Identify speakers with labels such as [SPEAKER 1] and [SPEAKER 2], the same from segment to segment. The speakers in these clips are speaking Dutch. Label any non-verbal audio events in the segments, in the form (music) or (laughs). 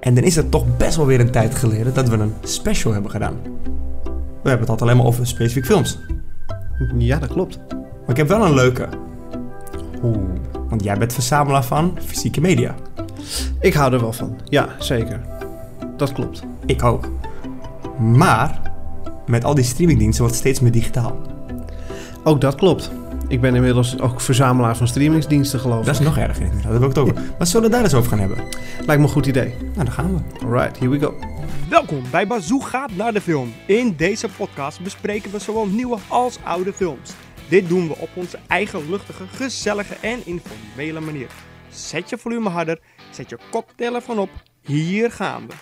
[SPEAKER 1] En dan is het toch best wel weer een tijd geleden dat we een special hebben gedaan. We hebben het altijd alleen maar over specifiek films.
[SPEAKER 2] Ja, dat klopt.
[SPEAKER 1] Maar ik heb wel een leuke.
[SPEAKER 2] Oeh.
[SPEAKER 1] Want jij bent verzamelaar van fysieke media.
[SPEAKER 2] Ik hou er wel van. Ja, zeker. Dat klopt.
[SPEAKER 1] Ik ook. Maar met al die streamingdiensten wordt het steeds meer digitaal.
[SPEAKER 2] Ook dat klopt. Ik ben inmiddels ook verzamelaar van streamingsdiensten, geloof
[SPEAKER 1] Dat
[SPEAKER 2] ik.
[SPEAKER 1] is nog erger inderdaad, daar hebben we het over. Maar zullen we daar eens over gaan hebben?
[SPEAKER 2] Lijkt me een goed idee.
[SPEAKER 1] Nou, daar gaan we.
[SPEAKER 2] Alright, here we go.
[SPEAKER 3] Welkom bij Bazoo gaat naar de film. In deze podcast bespreken we zowel nieuwe als oude films. Dit doen we op onze eigen luchtige, gezellige en informele manier. Zet je volume harder, zet je koptelefoon op. Hier gaan we.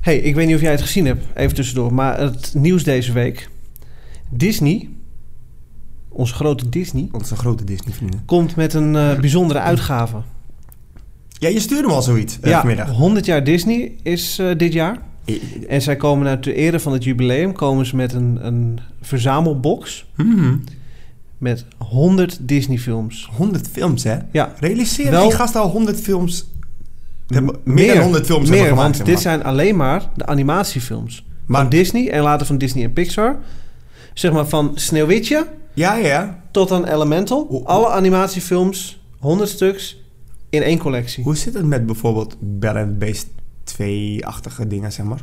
[SPEAKER 2] Hey, ik weet niet of jij het gezien hebt, even tussendoor, maar het nieuws deze week. Disney, onze grote Disney,
[SPEAKER 1] Onze grote Disney-vrienden.
[SPEAKER 2] komt met een eh, bijzondere uitgave.
[SPEAKER 1] Ja, je stuurde me al zoiets eh,
[SPEAKER 2] Ja,
[SPEAKER 1] vanmiddag.
[SPEAKER 2] 100 jaar Disney is eh, dit jaar.
[SPEAKER 1] I-
[SPEAKER 2] En zij komen uit de ere van het jubileum komen ze met een, een verzamelbox
[SPEAKER 1] Hmm,
[SPEAKER 2] met 100 Disney films.
[SPEAKER 1] 100 films, hè?
[SPEAKER 2] Ja,
[SPEAKER 1] Realiseer
[SPEAKER 2] Wel-
[SPEAKER 1] die gasten al 100 films... Hebben, meer, dan 100 films
[SPEAKER 2] meer,
[SPEAKER 1] hebben
[SPEAKER 2] want
[SPEAKER 1] gemaakt,
[SPEAKER 2] dit
[SPEAKER 1] zeg
[SPEAKER 2] zijn alleen maar de animatiefilms.
[SPEAKER 1] maar.
[SPEAKER 2] Van Disney en later van Disney en Pixar. Zeg maar van Sneeuwwitje
[SPEAKER 1] Maar- Ja, ja, ja.
[SPEAKER 2] tot aan Elemental.
[SPEAKER 1] Hoe-
[SPEAKER 2] Alle animatiefilms, 100 stuks, in één collectie.
[SPEAKER 1] Hoe zit het met bijvoorbeeld Bell and Beast 2-achtige dingen, zeg maar?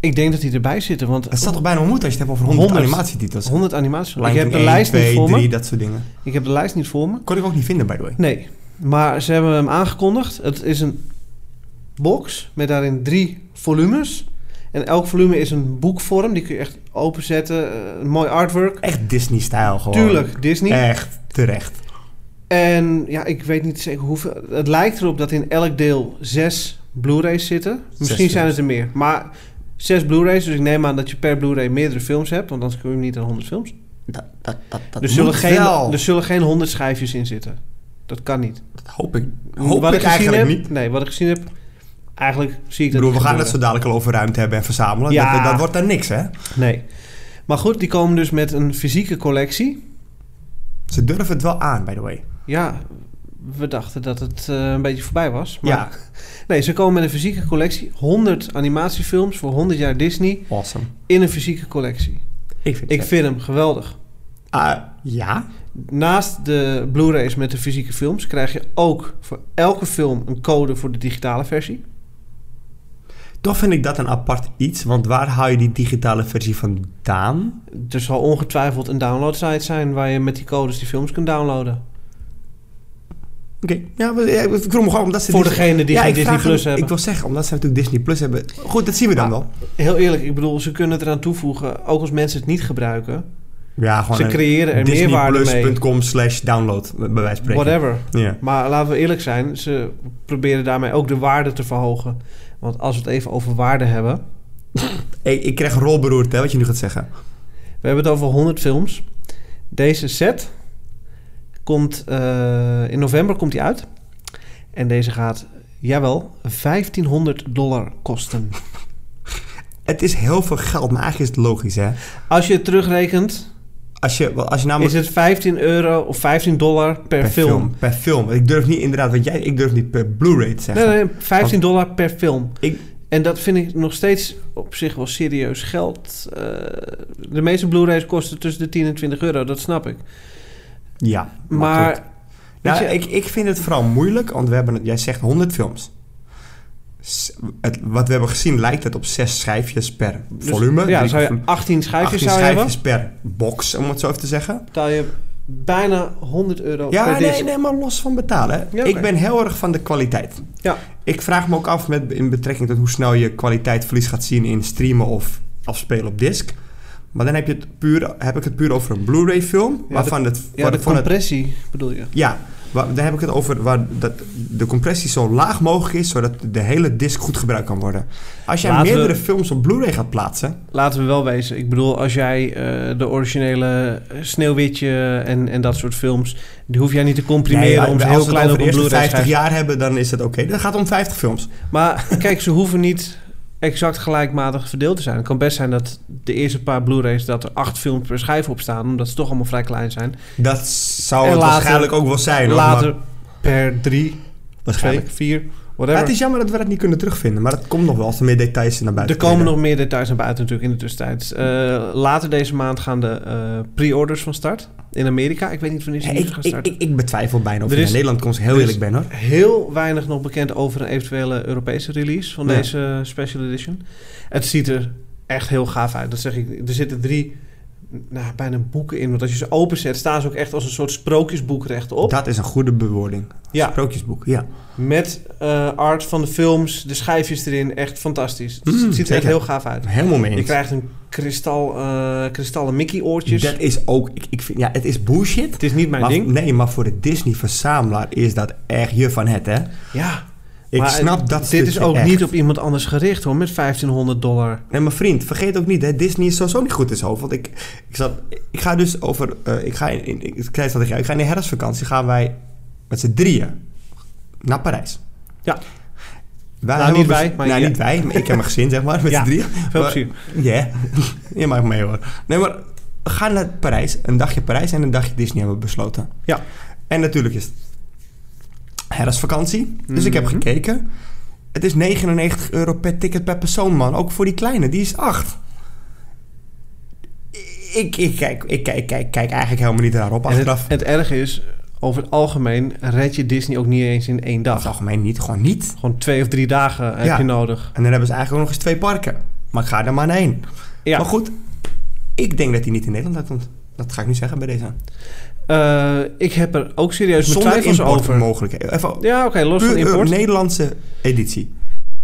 [SPEAKER 2] Ik denk dat die erbij zitten, want
[SPEAKER 1] Het staat toch bijna moeite als je het hebt over 100,
[SPEAKER 2] 100.
[SPEAKER 1] animatietitels?
[SPEAKER 2] 100 animatiefilms.
[SPEAKER 1] Lion
[SPEAKER 2] Ik heb
[SPEAKER 1] King
[SPEAKER 2] de
[SPEAKER 1] 1,
[SPEAKER 2] lijst
[SPEAKER 1] 2,
[SPEAKER 2] niet voor
[SPEAKER 1] 3,
[SPEAKER 2] me.
[SPEAKER 1] dat soort dingen.
[SPEAKER 2] Ik heb de lijst niet voor me.
[SPEAKER 1] Kon ik ook niet vinden, by the way.
[SPEAKER 2] Nee, maar ze hebben hem aangekondigd. Het is een box met daarin drie volumes. En elk volume is een boekvorm. Die kun je echt openzetten. eh, Een mooi artwork.
[SPEAKER 1] Echt Disney-stijl gewoon.
[SPEAKER 2] Tuurlijk, Disney.
[SPEAKER 1] Echt, terecht.
[SPEAKER 2] En ja, ik weet niet zeker hoeveel. Het lijkt erop dat in elk deel zes Blu-rays zitten. Misschien
[SPEAKER 1] films.
[SPEAKER 2] zijn het er meer. Maar zes Blu-rays. Dus ik neem aan dat je per Blu-ray meerdere films hebt. Want anders kom je niet aan 100 films.
[SPEAKER 1] Dat, dat, dat, dat
[SPEAKER 2] Er Dus zullen,
[SPEAKER 1] moet
[SPEAKER 2] geen,
[SPEAKER 1] wel.
[SPEAKER 2] er zullen geen 100 schijfjes in zitten. Dat kan niet.
[SPEAKER 1] Dat hoop ik, hoop ik,
[SPEAKER 2] gezien
[SPEAKER 1] eigenlijk
[SPEAKER 2] heb,
[SPEAKER 1] niet.
[SPEAKER 2] Nee, wat ik gezien heb, eigenlijk zie
[SPEAKER 1] Ik
[SPEAKER 2] ik dat
[SPEAKER 1] bedoel, we
[SPEAKER 2] niet
[SPEAKER 1] gaan het zo
[SPEAKER 2] gebeuren.
[SPEAKER 1] dadelijk al over ruimte hebben en verzamelen.
[SPEAKER 2] Ja.
[SPEAKER 1] Dat, dat wordt dan niks, hè?
[SPEAKER 2] Nee. Maar goed, die komen dus met een fysieke collectie.
[SPEAKER 1] Ze durven het wel aan, by the way.
[SPEAKER 2] Ja, we dachten dat het eh, een beetje voorbij was. Maar
[SPEAKER 1] Ja.
[SPEAKER 2] Nee, ze komen met een fysieke collectie. 100 animatiefilms voor 100 jaar Disney
[SPEAKER 1] Awesome.
[SPEAKER 2] in een fysieke collectie.
[SPEAKER 1] Ik vind
[SPEAKER 2] Ik vind hem geweldig.
[SPEAKER 1] ja?
[SPEAKER 2] Naast de Blu-rays met de fysieke films krijg je ook voor elke film een code voor de digitale versie.
[SPEAKER 1] Toch vind ik dat een apart iets, want waar haal je die digitale versie vandaan?
[SPEAKER 2] Er zal ongetwijfeld een downloadsite zijn waar je met die codes die films kunt downloaden.
[SPEAKER 1] Oké, ja, maar- ja, ik vroeg me gewoon omdat ze...
[SPEAKER 2] Voor
[SPEAKER 1] Disney-
[SPEAKER 2] degene die
[SPEAKER 1] Ja,
[SPEAKER 2] geen
[SPEAKER 1] ik
[SPEAKER 2] Disney
[SPEAKER 1] vraag
[SPEAKER 2] Plus
[SPEAKER 1] hem-
[SPEAKER 2] hebben.
[SPEAKER 1] Ik wil zeggen, omdat ze natuurlijk Disney Plus hebben. Goed, dat zien we dan
[SPEAKER 2] Ja.
[SPEAKER 1] wel.
[SPEAKER 2] Heel eerlijk, ik bedoel, ze kunnen het eraan toevoegen, ook als mensen het niet gebruiken.
[SPEAKER 1] Ja, gewoon
[SPEAKER 2] ze creëren er meerwaarde mee.
[SPEAKER 1] Disneyplus.com slash download, bij wijze van spreken.
[SPEAKER 2] Whatever.
[SPEAKER 1] Ja.
[SPEAKER 2] Maar laten we eerlijk zijn, ze proberen daarmee ook de waarde te verhogen. Want als we het even over waarde hebben.
[SPEAKER 1] Ik, ik krijg rolberoerd, hè, wat je nu gaat zeggen.
[SPEAKER 2] We hebben het over 100 films. Deze set komt eh, in november komt die uit. En deze gaat, jawel, 1500 dollar
[SPEAKER 1] (laughs)
[SPEAKER 2] kosten.
[SPEAKER 1] Het is heel veel geld, maar eigenlijk is het logisch, hè.
[SPEAKER 2] Als je het
[SPEAKER 1] Ah,
[SPEAKER 2] terugrekent,
[SPEAKER 1] Als je, wel, als je
[SPEAKER 2] is
[SPEAKER 1] namelijk
[SPEAKER 2] het 15 euro of 15 dollar per, film.
[SPEAKER 1] Per film. Ik durf niet inderdaad, want jij, ik durf niet per Blu-ray te zeggen.
[SPEAKER 2] Nee, nee, 15 dollar per film.
[SPEAKER 1] Ik-
[SPEAKER 2] en dat vind ik nog steeds op zich wel serieus geld. Eh, de meeste Blu-rays kosten tussen de 10 en 20 euro, dat snap ik.
[SPEAKER 1] Ja,
[SPEAKER 2] Maar,
[SPEAKER 1] goed. nou,
[SPEAKER 2] weet je-
[SPEAKER 1] ik, ik vind het vooral moeilijk, want we hebben, het- jij zegt 100 films. S- Het, wat we hebben gezien lijkt het op zes schijfjes per
[SPEAKER 2] dus-
[SPEAKER 1] volume.
[SPEAKER 2] Ja, dan
[SPEAKER 1] Dus
[SPEAKER 2] zou
[SPEAKER 1] ik-
[SPEAKER 2] je 18 schijfjes
[SPEAKER 1] 18
[SPEAKER 2] zou je hebben.
[SPEAKER 1] schijfjes per box, om het zo even te zeggen.
[SPEAKER 2] betaal je bijna 100 euro
[SPEAKER 1] Ja,
[SPEAKER 2] Oh, per
[SPEAKER 1] nee,
[SPEAKER 2] disc.
[SPEAKER 1] nee, maar los van betalen. hè.
[SPEAKER 2] Ja, oké.
[SPEAKER 1] Ik ben heel erg van de kwaliteit.
[SPEAKER 2] Ja.
[SPEAKER 1] Ik vraag me ook af met, in betrekking tot hoe snel je kwaliteitverlies gaat zien in streamen of afspelen op disc. Maar dan heb, je het puur, heb ik het puur over een Blu-ray film.
[SPEAKER 2] de-
[SPEAKER 1] waarvan het,
[SPEAKER 2] Ja, de
[SPEAKER 1] waarvan het-
[SPEAKER 2] compressie bedoel je.
[SPEAKER 1] ja, waar- dan heb ik het over waar dat de compressie zo laag mogelijk is, zodat de hele disc goed gebruikt kan worden. Als jij
[SPEAKER 2] Laten we-
[SPEAKER 1] meerdere films op Blu-ray gaat plaatsen,
[SPEAKER 2] Laten we wel wezen. Ik bedoel, als jij eh, de originele eh, Sneeuwwitje en, en dat soort films... die hoef jij niet te comprimeren
[SPEAKER 1] nee,
[SPEAKER 2] om ze
[SPEAKER 1] als
[SPEAKER 2] heel
[SPEAKER 1] we
[SPEAKER 2] klein
[SPEAKER 1] het
[SPEAKER 2] op
[SPEAKER 1] over
[SPEAKER 2] een
[SPEAKER 1] de eerste
[SPEAKER 2] Blu-ray
[SPEAKER 1] 50
[SPEAKER 2] schijf
[SPEAKER 1] jaar hebben, dan is het oké. Dat gaat om 50 films.
[SPEAKER 2] Maar (laughs) kijk, ze hoeven niet exact gelijkmatig verdeeld te zijn. Het kan best zijn dat de eerste paar Blu-rays dat er acht films per schijf op staan, omdat ze toch allemaal vrij klein zijn.
[SPEAKER 1] Dat zou
[SPEAKER 2] En
[SPEAKER 1] het
[SPEAKER 2] later-
[SPEAKER 1] waarschijnlijk ook wel zijn. hoor, maar-
[SPEAKER 2] Later per drie,
[SPEAKER 1] waarschijnlijk.
[SPEAKER 2] waarschijnlijk vier.
[SPEAKER 1] Ja,
[SPEAKER 2] Whatever.
[SPEAKER 1] het is jammer dat we dat niet kunnen terugvinden, maar dat komt nog wel als er meer details naar buiten
[SPEAKER 2] er komen
[SPEAKER 1] treden.
[SPEAKER 2] nog meer details naar buiten natuurlijk in de tussentijd. Eh, later deze maand gaan de eh, pre-orders van start in Amerika. Ik weet niet wanneer ze
[SPEAKER 1] Ja,
[SPEAKER 2] die gaan
[SPEAKER 1] ik, ik,
[SPEAKER 2] starten.
[SPEAKER 1] ik, ik betwijfel bijna of
[SPEAKER 2] Er
[SPEAKER 1] je
[SPEAKER 2] is-
[SPEAKER 1] naar Nederland komt, als ik heel
[SPEAKER 2] er is-
[SPEAKER 1] eerlijk ben hoor.
[SPEAKER 2] Heel weinig nog bekend over een eventuele Europese release van
[SPEAKER 1] Ja.
[SPEAKER 2] deze special edition. Het ziet er echt heel gaaf uit. Dat zeg ik. Er zitten drie nou, bijna boeken in. Want als je ze openzet, staan ze ook echt als een soort sprookjesboek rechtop.
[SPEAKER 1] Dat is een goede bewoording.
[SPEAKER 2] Ja.
[SPEAKER 1] Sprookjesboek, ja.
[SPEAKER 2] Met eh, art van de films, de schijfjes erin. Echt fantastisch. Het
[SPEAKER 1] Mm,
[SPEAKER 2] ziet er echt
[SPEAKER 1] zeker.
[SPEAKER 2] heel gaaf uit.
[SPEAKER 1] Helemaal mee
[SPEAKER 2] Je
[SPEAKER 1] eens.
[SPEAKER 2] krijgt een kristal, eh, kristallen Mickey-oortjes.
[SPEAKER 1] Dat is ook, ik, ik vind, ja, het is bullshit.
[SPEAKER 2] Het is niet mijn
[SPEAKER 1] maar,
[SPEAKER 2] ding.
[SPEAKER 1] Nee, maar voor de Disney-verzamelaar is dat echt je van het, hè?
[SPEAKER 2] Ja,
[SPEAKER 1] Ik
[SPEAKER 2] maar
[SPEAKER 1] snap dat
[SPEAKER 2] dit is
[SPEAKER 1] stukje
[SPEAKER 2] ook
[SPEAKER 1] echt.
[SPEAKER 2] niet op iemand anders gericht hoor, met 1500 dollar.
[SPEAKER 1] Nee, maar vriend, vergeet ook niet, hè, Disney is sowieso niet goed in zijn hoofd. Want ik, ik, zat, ik ga dus over, eh, ik, ga in, in- ik, ik zei het al tegen jou, ik ga in de herfstvakantie, gaan wij met z'n drieën naar Parijs.
[SPEAKER 2] Ja.
[SPEAKER 1] Wij
[SPEAKER 2] Nou,
[SPEAKER 1] hebben
[SPEAKER 2] niet
[SPEAKER 1] bes-
[SPEAKER 2] wij, maar
[SPEAKER 1] nou,
[SPEAKER 2] ja.
[SPEAKER 1] niet wij, maar ik en mijn gezin, zeg maar, met
[SPEAKER 2] Ja.
[SPEAKER 1] z'n drieën.
[SPEAKER 2] Veel
[SPEAKER 1] Maar-
[SPEAKER 2] plezier.
[SPEAKER 1] Ja, je maakt mee hoor. Nee, maar we gaan naar Parijs. Een dagje Parijs en een dagje Disney hebben we besloten.
[SPEAKER 2] Ja.
[SPEAKER 1] En natuurlijk is het herfstvakantie. Dus ik heb
[SPEAKER 2] Mhm.
[SPEAKER 1] gekeken. Het is 99 euro per ticket per persoon, man. Ook voor die kleine, die is 8. Ik, ik, kijk, ik kijk, kijk, kijk eigenlijk helemaal niet daarop
[SPEAKER 2] En
[SPEAKER 1] achteraf.
[SPEAKER 2] het, het erge is, over het algemeen red je Disney ook niet eens in één
[SPEAKER 1] Over het
[SPEAKER 2] dag.
[SPEAKER 1] algemeen niet, gewoon niet.
[SPEAKER 2] Gewoon twee of drie dagen heb
[SPEAKER 1] Ja.
[SPEAKER 2] je nodig.
[SPEAKER 1] En dan hebben ze eigenlijk ook nog eens twee parken. Maar ik ga er maar naar één.
[SPEAKER 2] Ja.
[SPEAKER 1] Maar goed, ik denk dat hij niet in Nederland uitkomt. Dat ga ik nu zeggen bij deze.
[SPEAKER 2] Eh, ik heb er ook serieus mijn
[SPEAKER 1] Zonder
[SPEAKER 2] twijfels
[SPEAKER 1] import
[SPEAKER 2] over.
[SPEAKER 1] mogelijk. Even
[SPEAKER 2] Ja, oké, los van
[SPEAKER 1] puur
[SPEAKER 2] import.
[SPEAKER 1] een Nederlandse editie.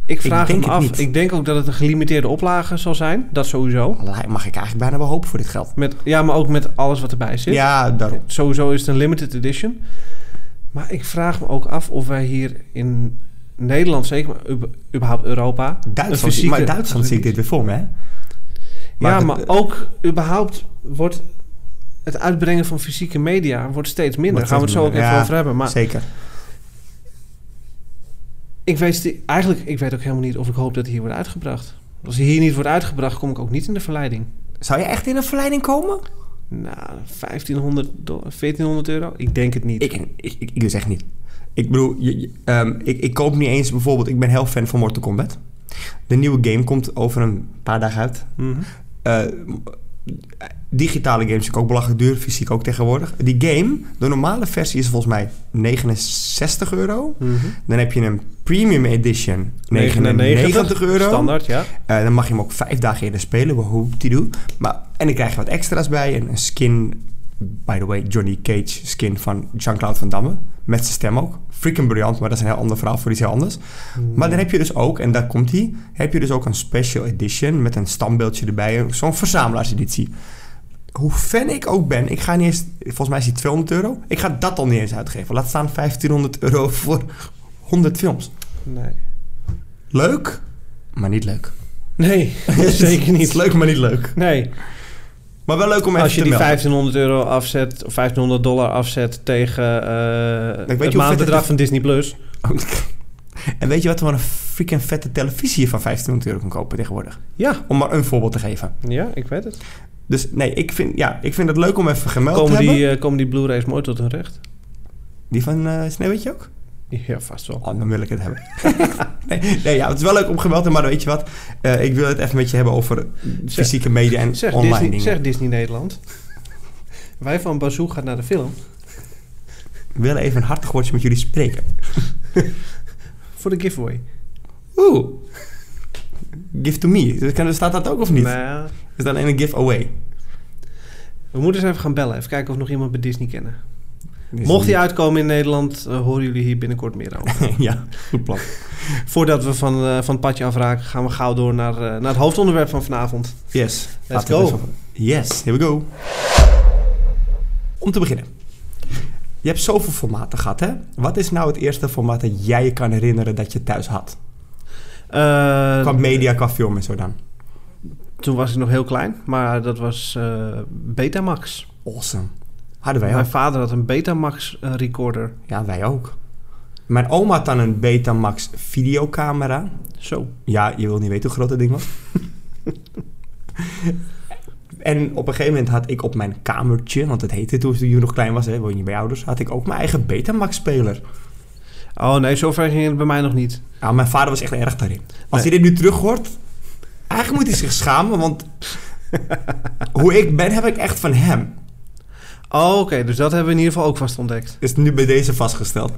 [SPEAKER 2] ik vraag
[SPEAKER 1] denk
[SPEAKER 2] hem
[SPEAKER 1] het
[SPEAKER 2] af.
[SPEAKER 1] niet.
[SPEAKER 2] Ik denk ook dat het een gelimiteerde oplage zal zijn. Dat sowieso.
[SPEAKER 1] Mag ik eigenlijk bijna wel hopen voor dit geld.
[SPEAKER 2] Met, ja, maar ook met alles wat erbij zit.
[SPEAKER 1] Ja, daarom.
[SPEAKER 2] Sowieso is het een limited edition. Maar ik vraag me ook af of wij hier in Nederland, zeker maar ub- überhaupt Europa. een
[SPEAKER 1] Duitsland,
[SPEAKER 2] fysieke-
[SPEAKER 1] maar Duitsland zie ik dit weer voor me, hè? Maar
[SPEAKER 2] ja,
[SPEAKER 1] dat-
[SPEAKER 2] maar ook überhaupt wordt het uitbrengen van fysieke media wordt steeds minder. Daar
[SPEAKER 1] Wordt
[SPEAKER 2] gaan we het zo ook
[SPEAKER 1] steeds
[SPEAKER 2] even
[SPEAKER 1] minder, ja.
[SPEAKER 2] over hebben. Maar
[SPEAKER 1] Zeker.
[SPEAKER 2] ik weet sti- eigenlijk ik weet ook helemaal niet of ik hoop dat hij hier wordt uitgebracht. Als hij hier niet wordt uitgebracht, kom ik ook niet in de verleiding.
[SPEAKER 1] Zou je echt in een verleiding komen?
[SPEAKER 2] Nou, 1500 dollar, 1400 euro? Ik denk het niet.
[SPEAKER 1] Ik, ik, ik, ik dus echt niet. Ik bedoel, je, je- ehm, ik, ik koop niet eens bijvoorbeeld... Ik ben heel fan van Mortal Kombat. De nieuwe game komt over een paar dagen uit.
[SPEAKER 2] Mhm.
[SPEAKER 1] Eh, digitale games zijn ook belachelijk duur, fysiek ook tegenwoordig. Die game, de normale versie is volgens mij 69 euro.
[SPEAKER 2] Mhm.
[SPEAKER 1] Dan heb je een premium edition, 99 euro.
[SPEAKER 2] Standaard, ja.
[SPEAKER 1] Eh, dan mag je hem ook vijf dagen eerder spelen, hoe die doe. Maar, en dan krijg je wat extra's bij. Een, een skin, by the way, Johnny Cage skin van Jean-Claude Van Damme. Met zijn stem ook. Freaking briljant, maar dat is een heel ander verhaal voor iets heel anders. Maar dan heb je dus ook, en daar komt hij, heb je dus ook een special edition met een standbeeldje erbij. Zo'n verzamelaarseditie. Hoe fan ik ook ben, ik ga niet eens, volgens mij is die 200 euro. Ik ga dat al niet eens uitgeven. Laat staan 1500 euro voor 100 films.
[SPEAKER 2] Nee.
[SPEAKER 1] Leuk, maar niet
[SPEAKER 2] (laughs)
[SPEAKER 1] leuk. (laughs)
[SPEAKER 2] Nee, zeker
[SPEAKER 1] Het is
[SPEAKER 2] niet.
[SPEAKER 1] leuk, maar niet leuk.
[SPEAKER 2] Nee,
[SPEAKER 1] Maar wel leuk om even
[SPEAKER 2] als je
[SPEAKER 1] te
[SPEAKER 2] die
[SPEAKER 1] melden.
[SPEAKER 2] 1500 euro afzet, of 1500 dollar afzet tegen eh
[SPEAKER 1] weet
[SPEAKER 2] het
[SPEAKER 1] je hoe vet het
[SPEAKER 2] maandbedrag
[SPEAKER 1] is?
[SPEAKER 2] van Disney Plus.
[SPEAKER 1] En weet je wat er wel een freaking vette televisie hier van 1500 euro kan kopen tegenwoordig?
[SPEAKER 2] Ja,
[SPEAKER 1] Om maar een voorbeeld te geven.
[SPEAKER 2] ja, ik weet het.
[SPEAKER 1] Dus nee, ik vind, ja, ik vind het leuk om even gemeld
[SPEAKER 2] Komen
[SPEAKER 1] te
[SPEAKER 2] die,
[SPEAKER 1] hebben.
[SPEAKER 2] eh, komen die Blu-rays mooi tot hun recht?
[SPEAKER 1] Die van eh Sneeuwwitje ook?
[SPEAKER 2] Ja, vast wel.
[SPEAKER 1] Oh, dan wil ik het hebben. (laughs) nee, nee, ja, het is wel leuk om gemeld te hebben, maar weet je wat? Eh, ik wil het even met je hebben over
[SPEAKER 2] Zeg-
[SPEAKER 1] fysieke media en
[SPEAKER 2] Zeg
[SPEAKER 1] online
[SPEAKER 2] Disney,
[SPEAKER 1] dingen.
[SPEAKER 2] zeg Disney
[SPEAKER 1] (laughs)
[SPEAKER 2] Nederland. Wij van Bazoo gaan naar de film.
[SPEAKER 1] Ik wil even een hartig woordje met jullie spreken.
[SPEAKER 2] Voor de giveaway.
[SPEAKER 1] Oeh. Give to me. Dus kan- Staat dat ook of niet?
[SPEAKER 2] Nou,
[SPEAKER 1] Is dat een giveaway?
[SPEAKER 2] we moeten eens even gaan bellen. Even kijken of we nog iemand bij Disney kennen. Mocht (laughs) die uitkomen in Nederland, eh, horen jullie hier binnenkort meer
[SPEAKER 1] (laughs)
[SPEAKER 2] over.
[SPEAKER 1] ja, goed plan.
[SPEAKER 2] Voordat we van, eh, van het padje afraken, gaan we gauw door naar, eh, naar het hoofdonderwerp van vanavond.
[SPEAKER 1] Yes. Laten
[SPEAKER 2] go.
[SPEAKER 1] we het eens over- Yes, here we go. Om te beginnen. Je hebt zoveel formaten gehad, hè? Wat is nou het eerste formaat dat jij je kan herinneren dat je thuis had?
[SPEAKER 2] Eh,
[SPEAKER 1] Qua media, qua film en zo dan.
[SPEAKER 2] Toen was ik nog heel klein, maar dat was eh, Betamax.
[SPEAKER 1] Awesome. Hadden wij
[SPEAKER 2] Mijn
[SPEAKER 1] ook.
[SPEAKER 2] vader had een Betamax eh, recorder.
[SPEAKER 1] Ja, wij ook. Mijn oma had dan een Betamax videocamera.
[SPEAKER 2] Zo.
[SPEAKER 1] Ja, je wil niet weten hoe groot dat ding was. (laughs) en op een gegeven moment had ik op mijn kamertje, want dat heette toen je nog klein was, hè, woon je bij je ouders, had ik ook mijn eigen Betamax-speler.
[SPEAKER 2] Oh, Oh nee, zover ging het bij mij nog niet.
[SPEAKER 1] Ja, Nou, mijn vader was echt erg daarin. Als hij
[SPEAKER 2] Nee.
[SPEAKER 1] dit nu terug hoort, eigenlijk moet hij zich schamen, want hoe ik ben heb ik echt van hem.
[SPEAKER 2] Oh, oké, dus dat hebben we in ieder geval ook vast ontdekt.
[SPEAKER 1] Is nu bij deze vastgesteld.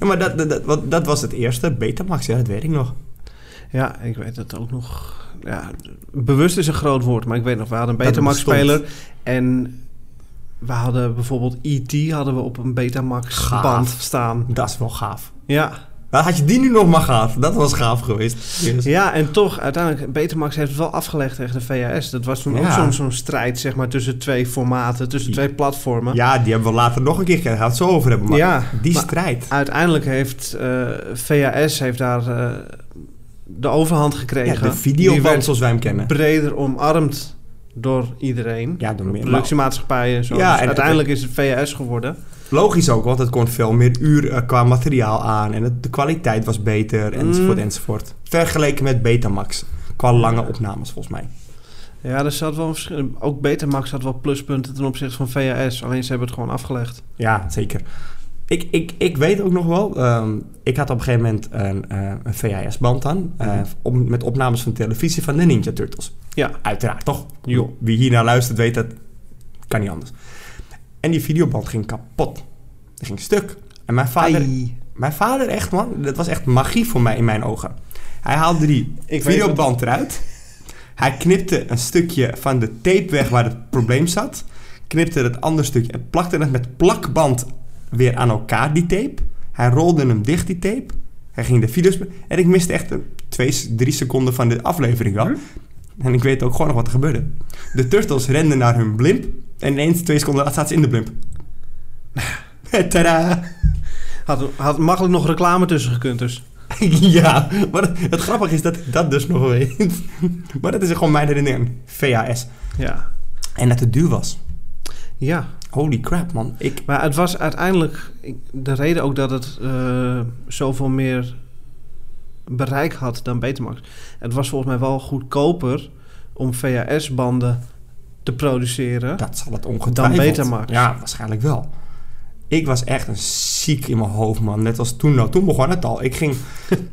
[SPEAKER 1] Ja, maar dat, dat, dat, wat- dat was het eerste, Betamax, ja, dat weet ik nog.
[SPEAKER 2] Ja, ik weet het ook nog. Ja, bewust is een groot woord, maar ik weet nog, we hadden een
[SPEAKER 1] Dat het
[SPEAKER 2] Betamax-speler. En we hadden bijvoorbeeld E.T. hadden we op een
[SPEAKER 1] Gaaf.
[SPEAKER 2] Betamax-band staan.
[SPEAKER 1] Dat is wel gaaf.
[SPEAKER 2] Ja.
[SPEAKER 1] Nou, had je die nu nog maar gehad, dat was gaaf geweest. Yes.
[SPEAKER 2] ja, en toch, uiteindelijk, Betamax heeft het wel afgelegd tegen de VHS. Dat was toen ook
[SPEAKER 1] Ja.
[SPEAKER 2] zo'n zo'n strijd, zeg maar, tussen twee formaten, tussen twee platformen.
[SPEAKER 1] Ja, die hebben we later nog een keer gehad, gaan we het zo over hebben. Maar
[SPEAKER 2] Ja,
[SPEAKER 1] die
[SPEAKER 2] maar-
[SPEAKER 1] strijd.
[SPEAKER 2] Uiteindelijk heeft eh VHS heeft daar eh, de overhand
[SPEAKER 1] Ja,
[SPEAKER 2] gekregen.
[SPEAKER 1] de
[SPEAKER 2] Die
[SPEAKER 1] videoband
[SPEAKER 2] werd
[SPEAKER 1] zoals wij hem kennen.
[SPEAKER 2] breder omarmd door iedereen.
[SPEAKER 1] Ja, door meer. maar
[SPEAKER 2] Productiemaatschappijen en zo.
[SPEAKER 1] Ja,
[SPEAKER 2] Dus
[SPEAKER 1] en-
[SPEAKER 2] uiteindelijk is het VHS geworden.
[SPEAKER 1] Logisch ook, want het kon veel meer uur eh, qua materiaal aan. En het- de kwaliteit was beter, enzovoort,
[SPEAKER 2] Mm.
[SPEAKER 1] enzovoort. Vergeleken met Betamax. Qua lange opnames, volgens mij.
[SPEAKER 2] Ja, er zat wel een verschil. Ook Betamax had wel pluspunten ten opzichte van VHS. Alleen ze hebben het gewoon afgelegd.
[SPEAKER 1] Ja, zeker. Ik, ik, ik weet ook nog wel, ehm, ik had op een gegeven moment een, eh, een VHS-band aan. eh,
[SPEAKER 2] Mhm.
[SPEAKER 1] om, met opnames van televisie van de Ninja Turtles.
[SPEAKER 2] Ja.
[SPEAKER 1] Uiteraard, toch?
[SPEAKER 2] Jo.
[SPEAKER 1] Wie hiernaar luistert weet dat, kan niet anders. En die videoband ging kapot. Die ging stuk. En mijn vader,
[SPEAKER 2] Ai.
[SPEAKER 1] Mijn vader echt, man, dat was echt magie voor mij in mijn ogen. Hij haalde die
[SPEAKER 2] Ik weet
[SPEAKER 1] videoband eruit. Hij knipte een stukje van de tape weg waar het probleem zat. Knipte het andere stukje en plakte het met plakband weer aan elkaar, die tape. Hij rolde hem dicht, die tape. Hij ging de video's... be- En ik miste echt een, twee, drie seconden van de aflevering
[SPEAKER 2] Hm?
[SPEAKER 1] wel. En ik weet ook gewoon nog wat er gebeurde. De turtles renden naar hun blimp. En ineens twee seconden later zaten ze in de blimp.
[SPEAKER 2] Nou.
[SPEAKER 1] (laughs) Tadaa!
[SPEAKER 2] Had, had makkelijk nog reclame tussen gekund dus.
[SPEAKER 1] (laughs) ja, maar het grappige is dat ik dat dus nog weet. (laughs) maar dat is gewoon mijn herinnering. VHS.
[SPEAKER 2] Ja.
[SPEAKER 1] En dat het duur was.
[SPEAKER 2] Ja.
[SPEAKER 1] Holy crap, man. Ik,
[SPEAKER 2] Maar het was uiteindelijk ik- de reden ook dat het eh, zoveel meer bereik had dan Betamax. Het was volgens mij wel goedkoper om VHS-banden te produceren.
[SPEAKER 1] dat zal het ongetwijfeld.
[SPEAKER 2] Dan Betamax.
[SPEAKER 1] Ja, waarschijnlijk wel. Ik was echt een ziek in mijn hoofd, man. Net als toen. Nou, toen begon het al. Ik ging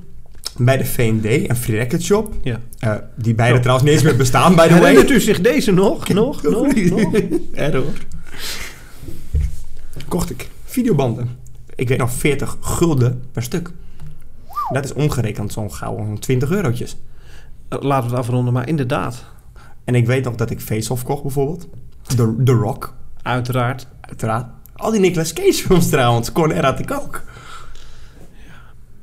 [SPEAKER 1] (laughs) bij de V&D, een free record shop.
[SPEAKER 2] Ja.
[SPEAKER 1] eh, die beide
[SPEAKER 2] Oh.
[SPEAKER 1] trouwens niet eens meer bestaan, by the way.
[SPEAKER 2] Herinnert u zich deze nog? Nog? Nog?
[SPEAKER 1] (laughs)
[SPEAKER 2] nog?
[SPEAKER 1] Error. Kocht ik videobanden. Ik weet nog 40 gulden per stuk. Dat is omgerekend zo'n gauw 20 eurotjes.
[SPEAKER 2] Eh, Laten we het afronden, maar inderdaad.
[SPEAKER 1] En ik weet nog dat ik Face Off kocht bijvoorbeeld. The, The Rock,
[SPEAKER 2] Uiteraard.
[SPEAKER 1] uiteraard. Al die Nicolas Cage (laughs) films trouwens, kon er had ik ook.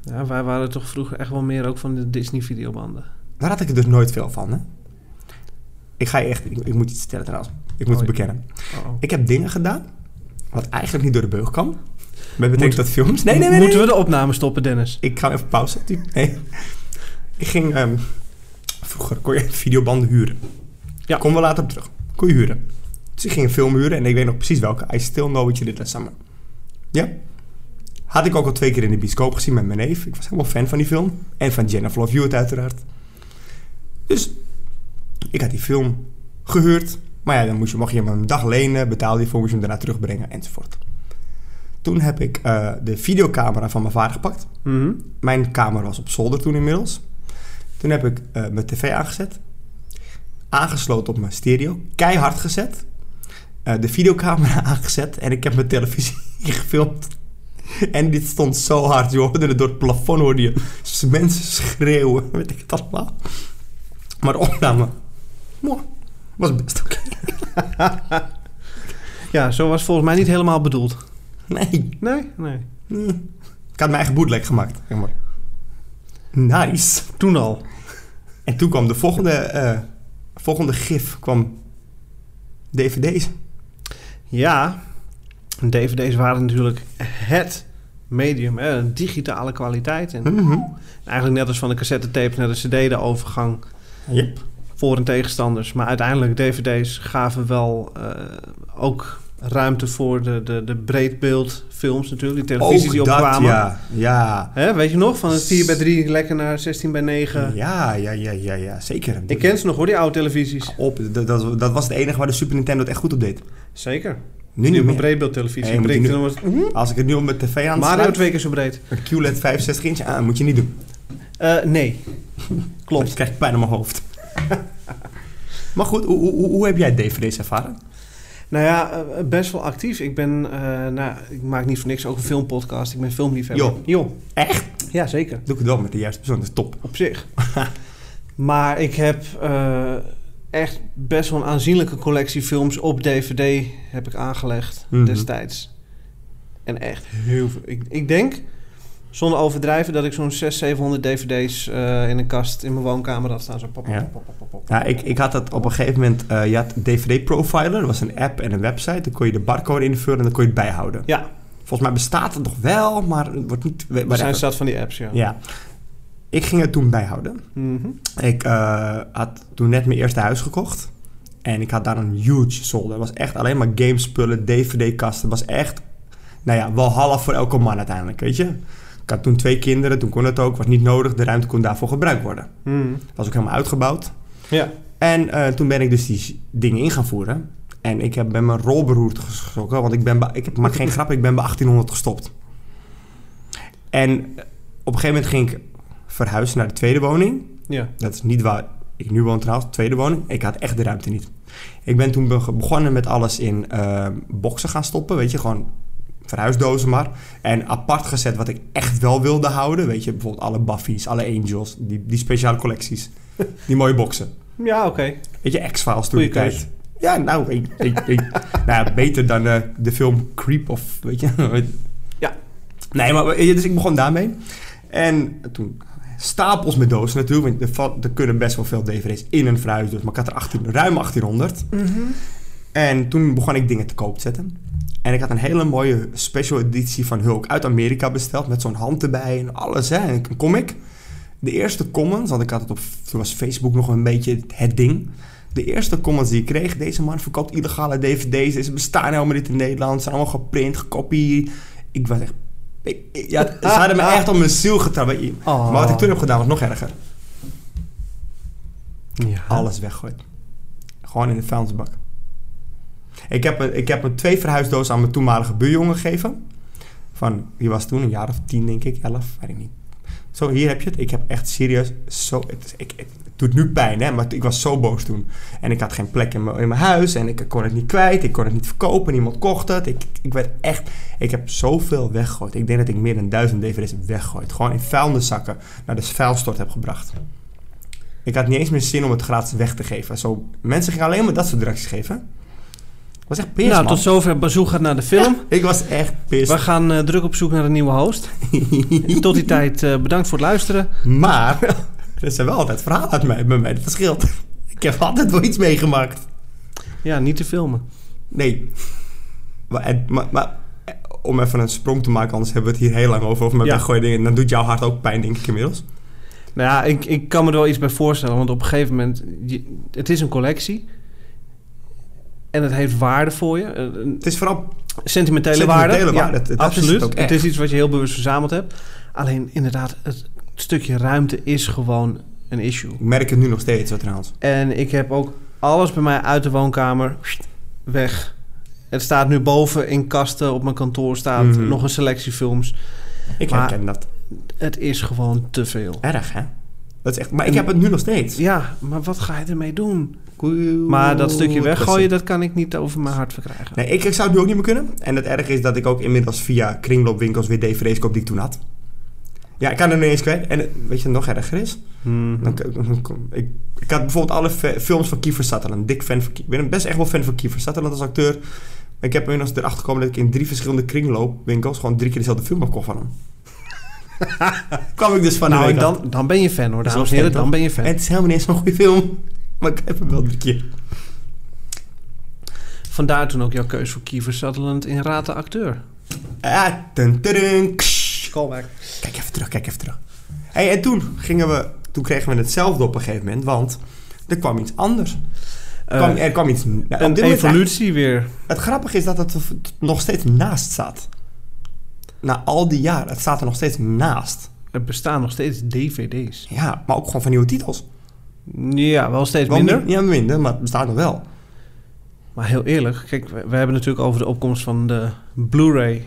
[SPEAKER 2] Ja, wij waren toch vroeger echt wel meer ook van de Disney-videobanden.
[SPEAKER 1] Daar had ik er dus nooit veel van, hè. Ik ga je echt... Ik, ik moet iets vertellen trouwens. Ik moet
[SPEAKER 2] Oh,
[SPEAKER 1] het
[SPEAKER 2] ja.
[SPEAKER 1] bekennen.
[SPEAKER 2] Oh, oh.
[SPEAKER 1] Ik heb dingen gedaan, wat eigenlijk niet door de beugel kan. Met betrekking
[SPEAKER 2] Moet-
[SPEAKER 1] tot films. Nee, nee, nee. nee.
[SPEAKER 2] Moeten we de opname stoppen, Dennis?
[SPEAKER 1] Dus Ik ga even pauze. Nee. Ik ging... ehm, vroeger kon je videobanden huren.
[SPEAKER 2] Ja.
[SPEAKER 1] Kom we later op terug. Kon je huren. Dus ik ging een film huren en ik weet nog precies welke. I still know what you did last summer. Ja. Had ik ook al twee keer in de bioscoop gezien met mijn neef. Ik was helemaal fan van die film. En van Jennifer Love Hewitt uiteraard. Dus ik had die film gehuurd. Maar ja, dan moest je, mocht je hem een dag lenen, betaalde je voor, moest je hem daarna terugbrengen enzovoort. Toen heb ik eh, de videocamera van mijn vader gepakt.
[SPEAKER 2] Mhm.
[SPEAKER 1] Mijn kamer was op zolder toen inmiddels. Toen heb ik eh, mijn tv aangezet. Aangesloten op mijn stereo. Keihard gezet. Eh, de videocamera (laughs) aangezet. En ik heb mijn televisie (laughs) gefilmd. En dit stond zo hard. Je hoorde het door het plafond. Hoorde je s- mensen schreeuwen. (laughs) Weet ik het allemaal. Maar de opname... Mooi. Was best oké.
[SPEAKER 2] Ja, zo was het volgens mij niet helemaal bedoeld.
[SPEAKER 1] Nee.
[SPEAKER 2] Nee? Nee.
[SPEAKER 1] nee. Ik had mijn eigen bootleg gemaakt. zeg maar. Nice.
[SPEAKER 2] Toen al.
[SPEAKER 1] En toen kwam de volgende, eh, volgende gif, kwam dvd's.
[SPEAKER 2] Ja, DVD's waren natuurlijk het medium, hè, een digitale kwaliteit.
[SPEAKER 1] Hm?
[SPEAKER 2] En
[SPEAKER 1] Mhm.
[SPEAKER 2] eigenlijk net als van de cassettetape naar de cd de overgang
[SPEAKER 1] Yep.
[SPEAKER 2] voor en tegenstanders. Maar uiteindelijk, DVD's gaven wel eh, ook ruimte voor de, de, de breedbeeldfilms natuurlijk, die televisies die
[SPEAKER 1] Ook dat,
[SPEAKER 2] opkwamen.
[SPEAKER 1] ja. Ja.
[SPEAKER 2] Hè, weet je nog, van het 4 bij 3 lekker naar 16 bij 9.
[SPEAKER 1] ja, ja, ja, ja, ja, zeker.
[SPEAKER 2] Ik
[SPEAKER 1] Oh.
[SPEAKER 2] ken ze nog hoor, die oude televisies.
[SPEAKER 1] op. Dat, dat, dat was het enige waar de Super Nintendo het echt goed op deed.
[SPEAKER 2] Zeker.
[SPEAKER 1] Nu
[SPEAKER 4] niet
[SPEAKER 1] niet
[SPEAKER 4] op een
[SPEAKER 1] meer.
[SPEAKER 4] breedbeeldtelevisie
[SPEAKER 1] Nee, moet
[SPEAKER 4] brengt.
[SPEAKER 1] je nu-
[SPEAKER 4] En dan was het-
[SPEAKER 1] Als ik het nu op mijn tv aan
[SPEAKER 2] Mario twee keer zo breed.
[SPEAKER 1] een QLED 65 inch aan, moet je niet doen.
[SPEAKER 2] Eh, nee. Klopt.
[SPEAKER 1] Dan krijg ik pijn op mijn hoofd. (laughs) maar goed, hoe, hoe, hoe- hoe heb jij DVD's ervaren?
[SPEAKER 2] Nou ja, eh, best wel actief. Ik ben, eh, nou, ik maak niet voor niks ook een filmpodcast. Ik ben filmliefhebber.
[SPEAKER 1] Joh. Echt?
[SPEAKER 2] Ja, zeker.
[SPEAKER 1] Doe ik het wel met de juiste persoon, dat is top. (laughs)
[SPEAKER 2] Op zich. maar ik heb eh, echt best wel een aanzienlijke collectie films op DVD heb ik aangelegd
[SPEAKER 1] Mhm.
[SPEAKER 2] destijds. En echt heel veel. Ik, ik denk, zonder overdrijven, dat ik zo'n 600, 700 DVD's eh, in een kast in mijn woonkamer had staan. Zo pop, pop,
[SPEAKER 1] Ja.
[SPEAKER 2] pop, pop, pop, pop.
[SPEAKER 1] Ja, ik, ik had dat op een gegeven moment, eh, je had DVD Profiler, dat was een app en een website. Dan kon je de barcode invullen en dan kon je het bijhouden.
[SPEAKER 2] Ja,
[SPEAKER 1] Volgens mij bestaat het nog wel, maar het wordt niet...
[SPEAKER 2] er zijn
[SPEAKER 1] whatever.
[SPEAKER 2] staat van die apps, ja.
[SPEAKER 1] Ja. Ik ging het toen bijhouden.
[SPEAKER 2] Mhm.
[SPEAKER 1] Ik eh, had toen net mijn eerste huis gekocht. En ik had daar een huge zolder. Het was echt alleen maar gamespullen, dvd-kasten. Het was echt, nou ja, wel half voor elke man uiteindelijk, weet je. Ik had toen twee kinderen, toen kon het ook. Was niet nodig, de ruimte kon daarvoor gebruikt worden.
[SPEAKER 2] Mhm.
[SPEAKER 1] Was ook helemaal uitgebouwd.
[SPEAKER 2] Ja.
[SPEAKER 1] En eh, toen ben ik dus die dingen in gaan voeren. En ik heb bij mijn rol beroerd geschrokken, want ik, ben bij- ik maak geen grap, ik ben bij 1800 gestopt. En op een gegeven moment ging ik verhuizen naar de tweede woning.
[SPEAKER 2] ja.
[SPEAKER 1] Dat is niet waar ik nu woon trouwens, tweede woning. Ik had echt de ruimte niet. Ik ben toen be- begonnen met alles in eh, boxen gaan stoppen, weet je, gewoon verhuisdozen maar. En apart gezet wat ik echt wel wilde houden, weet je, bijvoorbeeld alle Buffy's, alle Angels, die, die speciale collecties. Die mooie boxen.
[SPEAKER 2] Ja, oké.
[SPEAKER 1] Weet je, X-Files toen
[SPEAKER 2] Goeie
[SPEAKER 1] ik tijd. Ja, nou, ik, ik, ik, (laughs) nou ja, beter dan eh, de film Creep of weet je. (laughs)
[SPEAKER 2] Ja.
[SPEAKER 1] Nee, maar weet je, dus ik begon daarmee. En toen stapels met dozen natuurlijk, want er, val- er kunnen best wel veel DVD's in een verhuisdoos. Maar ik had er 18, ruim 1800. En toen begon ik dingen te koop te zetten. En ik had een hele mooie special editie van Hulk uit Amerika besteld. Met zo'n hand erbij en alles, hè. En een comic. De eerste comments, want ik had het op... Toen was Facebook nog een beetje het ding. De eerste comments die ik kreeg... Deze man verkoopt illegale dvd's. Deze bestaan helemaal niet in Nederland. Zijn allemaal geprint, gekopieerd. Ik was echt... ik- ik- ja, ze hadden me echt op mijn ziel getrapt.
[SPEAKER 2] Oh.
[SPEAKER 1] Maar wat ik toen heb gedaan was nog erger.
[SPEAKER 2] Ja. Nou,
[SPEAKER 1] Alles weggooid. Gewoon in de vuilnisbak. Ik heb, een- ik heb een twee verhuisdozen aan mijn toenmalige buurjongen gegeven. Van, die was toen een jaar of tien, denk ik, elf, weet ik niet. Zo, hier heb je het. Ik heb echt serieus zo... Het, is- ik, het doet nu pijn, hè, maar ik was zo boos toen. En ik had geen plek in mijn, in mijn huis en ik kon het niet kwijt. Ik kon het niet verkopen, niemand kocht het. Ik, ik werd echt... Ik heb zoveel weggegooid. Ik denk dat ik meer dan duizend dvd's heb weggegooid. Gewoon in vuilniszakken naar de vuilstort heb gebracht. Ik had niet eens meer zin om het gratis weg te geven. Zo, mensen gingen alleen maar dat soort reacties geven. Ik was echt pissed,
[SPEAKER 2] nou,
[SPEAKER 1] man.
[SPEAKER 2] tot zover Bazoo gaat naar de film.
[SPEAKER 1] (laughs) Ik was echt
[SPEAKER 2] We
[SPEAKER 1] pissed.
[SPEAKER 2] gaan eh, druk op zoek naar een nieuwe host. Tot die tijd, eh, bedankt voor het luisteren.
[SPEAKER 1] (laughs) Maar (laughs) er zijn wel altijd verhalen uit mij, bij mij. Dat scheelt. Ik heb altijd wel iets meegemaakt.
[SPEAKER 2] Ja, niet te filmen.
[SPEAKER 1] Nee. Maar, en- maar, maar eh, om even een sprong te maken, anders hebben we het hier heel lang over. Over mijn
[SPEAKER 2] Ja.
[SPEAKER 1] weggooien dingen. Dan doet jouw hart ook pijn, denk ik inmiddels.
[SPEAKER 2] Nou ja, ik, ik kan me er wel iets bij voorstellen. Want op een gegeven moment, je- het is een collectie. En het heeft waarde voor je. Een- een
[SPEAKER 1] Het is vooral...
[SPEAKER 2] Sentimentele,
[SPEAKER 1] Sentimentele
[SPEAKER 2] waarde.
[SPEAKER 1] waarde, dat- dat is
[SPEAKER 2] absoluut.
[SPEAKER 1] het ook echt.
[SPEAKER 2] is iets wat je heel bewust verzameld hebt. Alleen inderdaad, het stukje ruimte is gewoon een issue.
[SPEAKER 1] Ik merk het nu nog steeds, wat trouwens.
[SPEAKER 2] En ik heb ook alles bij mij uit de woonkamer sst, weg. Het staat nu boven in kasten op mijn kantoor staat
[SPEAKER 1] Mhm.
[SPEAKER 2] nog een selectie films.
[SPEAKER 1] Ik
[SPEAKER 2] Maar-
[SPEAKER 1] herken dat.
[SPEAKER 2] Het is gewoon te veel.
[SPEAKER 1] Erg, hè? Dat is echt... Maar ik
[SPEAKER 2] En-
[SPEAKER 1] heb het nu nog steeds.
[SPEAKER 2] Ja, maar wat ga je ermee doen? Maar dat stukje weggooien, dat kan ik niet over mijn hart verkrijgen.
[SPEAKER 1] Nee, ik, ik zou het nu ook niet meer kunnen. En het erg is dat ik ook inmiddels via kringloopwinkels weer dvd's koop die ik toen had. Ja, ik kan er nu eens kwijt. En eh, weet je wat nog erger is? Dan
[SPEAKER 2] nou,
[SPEAKER 1] k- dan kom- ik, ik had bijvoorbeeld alle fe- films van Kiefer Sutherland. Dik fan van Kie- Ik ben best echt wel fan van Kiefer Sutherland als acteur. Maar ik heb inmiddels erachter gekomen dat ik in drie verschillende kringloopwinkels... gewoon drie keer dezelfde film heb gekocht
[SPEAKER 2] (laughs)
[SPEAKER 1] van hem. Kwam ik dus van de
[SPEAKER 2] Nou,
[SPEAKER 1] week
[SPEAKER 2] en
[SPEAKER 1] af.
[SPEAKER 2] dan, dan ben je fan hoor,
[SPEAKER 1] Dat is
[SPEAKER 2] dames en
[SPEAKER 1] wel
[SPEAKER 2] heren.
[SPEAKER 1] fan,
[SPEAKER 2] Dan ben je
[SPEAKER 1] En
[SPEAKER 2] fan.
[SPEAKER 1] het is helemaal niet eens zo'n goede film. Maar ik heb hem wel drie keer.
[SPEAKER 2] Vandaar toen ook jouw keus voor Kiefer Sutherland in Raad de Acteur.
[SPEAKER 1] Ah, dun, dun, dun, ksh.
[SPEAKER 2] Callback.
[SPEAKER 1] Kijk even terug, kijk even terug. Hey, en toen, gingen we, toen kregen we hetzelfde op een gegeven moment, want er kwam iets anders. Er kwam, er kwam iets... nou, op dit
[SPEAKER 2] Eh, een
[SPEAKER 1] moment eigenlijk-
[SPEAKER 2] evolutie weer.
[SPEAKER 1] het grappige is dat het er v- nog steeds naast staat. Na al die jaren, het staat er nog steeds naast.
[SPEAKER 2] Er bestaan nog steeds DVD's.
[SPEAKER 1] Ja, maar ook gewoon van nieuwe titels.
[SPEAKER 2] Ja, wel steeds
[SPEAKER 1] Wel
[SPEAKER 2] minder.
[SPEAKER 1] min- Ja, minder, maar het bestaat nog wel.
[SPEAKER 2] Maar heel eerlijk, kijk, we, we hebben natuurlijk over de opkomst van de Blu-ray.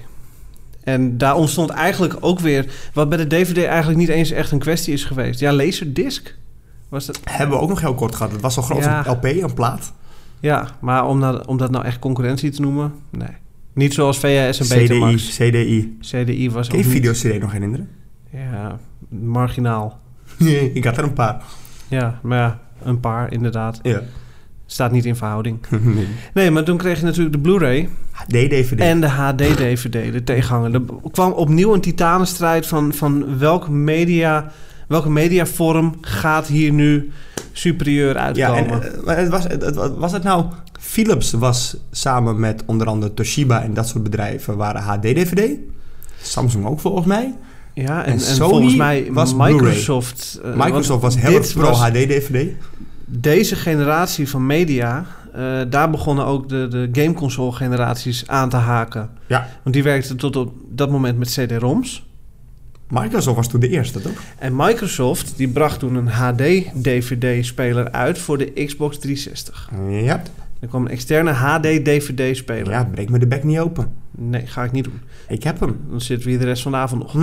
[SPEAKER 2] En daar ontstond eigenlijk ook weer wat bij de DVD eigenlijk niet eens echt een kwestie is geweest. Ja, laserdisc was dat.
[SPEAKER 1] Hebben we ook nog heel kort gehad. Het was al groot
[SPEAKER 2] Ja.
[SPEAKER 1] een LP, een plaat.
[SPEAKER 2] Ja, maar om dat, om dat nou echt concurrentie te noemen, nee. Niet zoals VHS en
[SPEAKER 1] CDI,
[SPEAKER 2] Betamax.
[SPEAKER 1] CDI.
[SPEAKER 2] CDI was
[SPEAKER 1] Kun je
[SPEAKER 2] ook niet-
[SPEAKER 1] video CD nog
[SPEAKER 2] (laughs)
[SPEAKER 1] herinneren?
[SPEAKER 2] Ja, marginaal.
[SPEAKER 1] ik had er een paar.
[SPEAKER 2] Ja, maar ja, een paar inderdaad.
[SPEAKER 1] (laughs) Ja.
[SPEAKER 2] Staat niet in verhouding. Nee, maar toen kreeg je natuurlijk de Blu-ray
[SPEAKER 1] HD-DVD.
[SPEAKER 2] en de HD-DVD, de tegenhanger. Er kwam opnieuw een titanenstrijd van, van welk media, welke mediavorm gaat hier nu superieur
[SPEAKER 1] Ja,
[SPEAKER 2] uitkomen.
[SPEAKER 1] en eh, maar het was, het, het- was het nou... Philips was samen met onder andere Toshiba en dat soort bedrijven... waren HD-DVD. Samsung ook volgens mij.
[SPEAKER 2] Ja, en,
[SPEAKER 1] en
[SPEAKER 2] en
[SPEAKER 1] Sony
[SPEAKER 2] volgens mij
[SPEAKER 1] was
[SPEAKER 2] was
[SPEAKER 1] Blu-ray.
[SPEAKER 2] Microsoft... eh,
[SPEAKER 1] Microsoft
[SPEAKER 2] want
[SPEAKER 1] was heel
[SPEAKER 2] dit
[SPEAKER 1] erg
[SPEAKER 2] was-
[SPEAKER 1] pro-HD-DVD.
[SPEAKER 2] Deze generatie van media, eh, daar begonnen ook de, de gameconsole generaties aan te haken.
[SPEAKER 1] Ja.
[SPEAKER 2] Want die werkte tot op dat moment met CD-ROMs.
[SPEAKER 1] Microsoft was toen de eerste, toch?
[SPEAKER 2] En Microsoft die bracht toen een HD-DVD-speler uit voor de Xbox 360.
[SPEAKER 1] Ja,
[SPEAKER 2] Er kwam een externe HD-DVD-speler.
[SPEAKER 1] Eh, ja breek me de bek niet open.
[SPEAKER 2] Nee, ga ik niet doen.
[SPEAKER 1] Ik heb hem.
[SPEAKER 2] Dan zitten we hier de rest van de avond nog.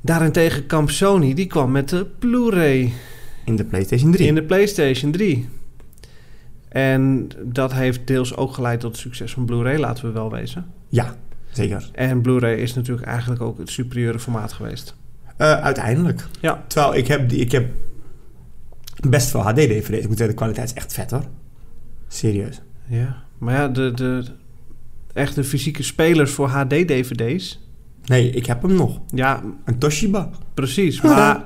[SPEAKER 2] Daarentegen kamp Sony, die kwam met de Blu-ray
[SPEAKER 1] In de PlayStation 3.
[SPEAKER 2] in de PlayStation 3. En dat heeft deels ook geleid tot het succes van Blu-ray, laten we wel wezen.
[SPEAKER 1] Ja, zeker.
[SPEAKER 2] En Blu-ray is natuurlijk eigenlijk ook het superieure formaat geweest.
[SPEAKER 1] Eh, uiteindelijk.
[SPEAKER 2] Ja.
[SPEAKER 1] Terwijl ik heb, die- ik heb best veel HD-DVD's. Ik moet zeggen, de kwaliteit is echt vet hoor. Serieus.
[SPEAKER 2] Ja, maar ja, de, de echte fysieke spelers voor HD-DVD's.
[SPEAKER 1] Nee, ik heb hem nog.
[SPEAKER 2] Ja,
[SPEAKER 1] Een Toshiba.
[SPEAKER 2] precies. Maar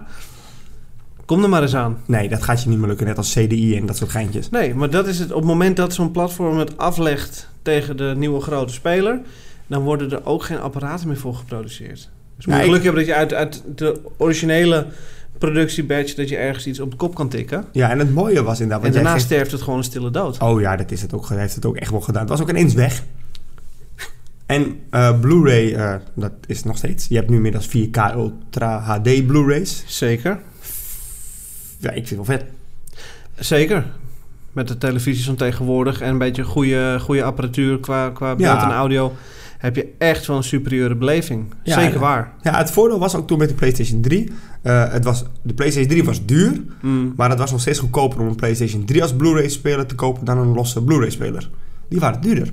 [SPEAKER 2] kom er maar eens aan.
[SPEAKER 1] Nee, dat gaat je niet meer lukken. Net als CDI en dat soort geintjes.
[SPEAKER 2] Nee, maar dat is het. Op het moment dat zo'n platform het aflegt tegen de nieuwe grote speler, dan worden er ook geen apparaten meer voor geproduceerd. Dus moet
[SPEAKER 1] Ja,
[SPEAKER 2] je
[SPEAKER 1] ik-
[SPEAKER 2] geluk hebben dat je uit, uit de originele productiebadge dat je ergens iets op de kop kan tikken.
[SPEAKER 1] Ja, en het mooie was inderdaad...
[SPEAKER 2] En
[SPEAKER 1] want jij
[SPEAKER 2] daarna
[SPEAKER 1] geeft-
[SPEAKER 2] sterft het gewoon een stille dood.
[SPEAKER 1] Oh ja, dat is het ook, hij heeft het ook echt wel gedaan. Het was ook ineens weg. En eh, Blu-ray, eh, dat is nog steeds. Je hebt nu inmiddels 4K Ultra HD Blu-rays.
[SPEAKER 2] Zeker.
[SPEAKER 1] Ja, ik vind het wel vet.
[SPEAKER 2] Zeker. Met de televisies van tegenwoordig en een beetje goede, goede apparatuur qua, qua beeld
[SPEAKER 1] Ja.
[SPEAKER 2] en audio heb je echt wel een superieure beleving.
[SPEAKER 1] Ja,
[SPEAKER 2] Zeker
[SPEAKER 1] ja.
[SPEAKER 2] waar.
[SPEAKER 1] Ja, het voordeel was ook toen met de PlayStation 3. eh, het was, de PlayStation 3 was duur,
[SPEAKER 2] Mm.
[SPEAKER 1] maar het was nog steeds goedkoper om een PlayStation 3 als Blu-ray speler te kopen dan een losse Blu-ray speler. Die waren duurder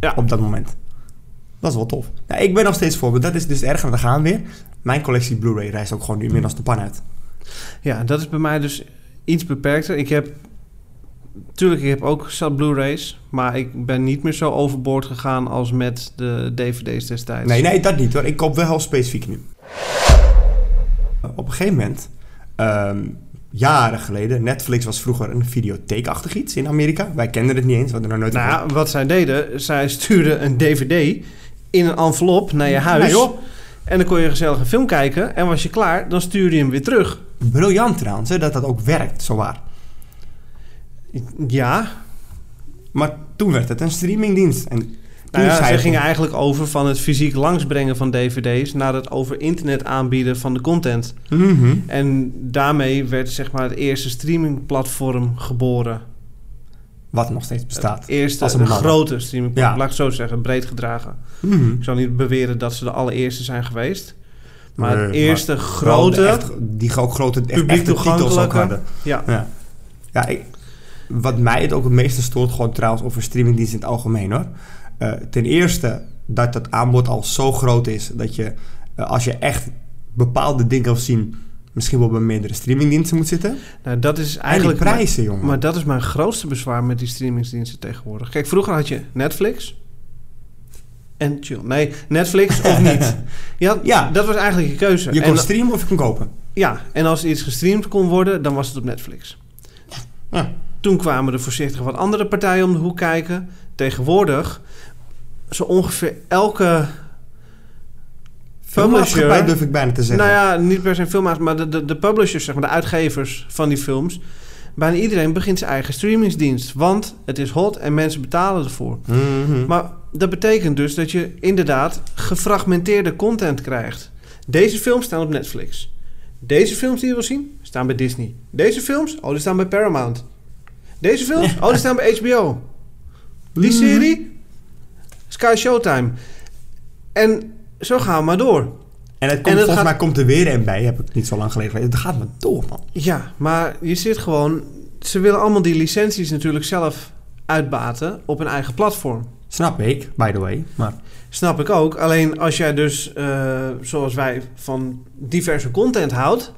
[SPEAKER 2] Ja.
[SPEAKER 1] op dat moment. Dat is wel tof. Ja, ik ben nog steeds voor, maar dat is dus erger dan gaan weer. Mijn collectie Blu-ray reist ook gewoon nu inmiddels de pan uit.
[SPEAKER 2] Ja, dat is bij mij dus iets beperkter. Ik heb. Tuurlijk, ik heb ook zat Blu-rays. Maar ik ben niet meer zo overboord gegaan als met de DVD's destijds.
[SPEAKER 1] Nee, nee, dat niet hoor. Ik koop wel heel specifiek nu. Op een gegeven moment, ehm, jaren geleden, Netflix was vroeger een videotheekachtig iets in Amerika. Wij kenden het niet eens, we hadden er nooit
[SPEAKER 2] Nou, ja, wat zij deden, zij stuurden een DVD in een envelop naar je huis.
[SPEAKER 1] Nee, joh.
[SPEAKER 2] En dan kon je gezellig een film kijken. En was je klaar, dan stuurde je hem weer terug.
[SPEAKER 1] Briljant trouwens, hè, dat dat ook werkt, zowaar.
[SPEAKER 2] Ja,
[SPEAKER 1] Maar toen werd het een streamingdienst. En toen
[SPEAKER 2] nou ja,
[SPEAKER 1] zei
[SPEAKER 2] zij
[SPEAKER 1] het-
[SPEAKER 2] gingen eigenlijk over van het fysiek langsbrengen van DVD's... naar het over internet aanbieden van de content.
[SPEAKER 1] Mhm.
[SPEAKER 2] En daarmee werd zeg maar het eerste streamingplatform geboren.
[SPEAKER 1] Wat nog steeds bestaat.
[SPEAKER 2] Het eerste,
[SPEAKER 1] Als een
[SPEAKER 2] de
[SPEAKER 1] mannen.
[SPEAKER 2] grote streamingplatform,
[SPEAKER 1] Ja.
[SPEAKER 2] laat ik het zo zeggen, breed gedragen.
[SPEAKER 1] Mhm.
[SPEAKER 2] Ik zou niet beweren dat ze de allereerste zijn geweest. Maar
[SPEAKER 1] Nee,
[SPEAKER 2] het
[SPEAKER 1] Eh, maar
[SPEAKER 2] eerste
[SPEAKER 1] Vooral de
[SPEAKER 2] grote...
[SPEAKER 1] echt- die ook grote echt,
[SPEAKER 2] publiek
[SPEAKER 1] echte titels ook
[SPEAKER 2] toegankelijke.
[SPEAKER 1] hadden.
[SPEAKER 2] Ja,
[SPEAKER 1] Ja. ja ik- wat mij het ook het meeste stoort, gewoon trouwens over streamingdienst in het algemeen hoor. Eh, ten eerste dat dat aanbod al zo groot is dat je, eh, als je echt bepaalde dingen wil zien, misschien wel bij meerdere streamingdiensten moet zitten.
[SPEAKER 2] nou, dat is
[SPEAKER 1] Eigenlijk
[SPEAKER 2] eigenlijk...
[SPEAKER 1] prijzen, jongen.
[SPEAKER 2] mijn-
[SPEAKER 1] (laughs)
[SPEAKER 2] maar dat is mijn grootste bezwaar met die streamingsdiensten tegenwoordig. Kijk, vroeger had je Netflix... En chill. Nee, Netflix of
[SPEAKER 1] (laughs)
[SPEAKER 2] niet. Ja,
[SPEAKER 1] Ja.
[SPEAKER 2] dat was eigenlijk je keuze.
[SPEAKER 1] je
[SPEAKER 2] En-
[SPEAKER 1] kon streamen of je kon kopen.
[SPEAKER 2] Ja, en als iets gestreamd kon worden, dan was het op Netflix.
[SPEAKER 1] Ja.
[SPEAKER 2] Toen kwamen er voorzichtig wat andere partijen om de hoek kijken. Tegenwoordig, zo ongeveer elke.
[SPEAKER 1] Filmmaatschappij durf ik bijna te zeggen.
[SPEAKER 2] Nou ja, niet per se filmmakers, maar de, de, de publishers, zeg maar, de uitgevers van die films. Bijna iedereen begint zijn eigen streamingsdienst. Want het is hot en mensen betalen ervoor.
[SPEAKER 1] Mhm.
[SPEAKER 2] Maar dat betekent dus dat je inderdaad gefragmenteerde content krijgt. Deze films staan op Netflix. Deze films die je wil zien, staan bij Disney. Deze films, oh, die staan bij Paramount. Deze films, oh, die staan bij HBO. Die serie? Sky Showtime. En zo gaan we maar door.
[SPEAKER 1] En het komt,
[SPEAKER 2] het
[SPEAKER 1] volgens
[SPEAKER 2] gaat-
[SPEAKER 1] mij komt er weer een bij, heb ik niet zo lang geleden gelezen. Het gaat maar door, man.
[SPEAKER 2] Ja, maar je zit gewoon... Ze willen allemaal die licenties natuurlijk zelf uitbaten op een eigen platform.
[SPEAKER 1] Snap ik, by the way. Maar
[SPEAKER 2] Snap ik ook. Alleen als jij dus, eh, zoals wij, van diverse content houdt...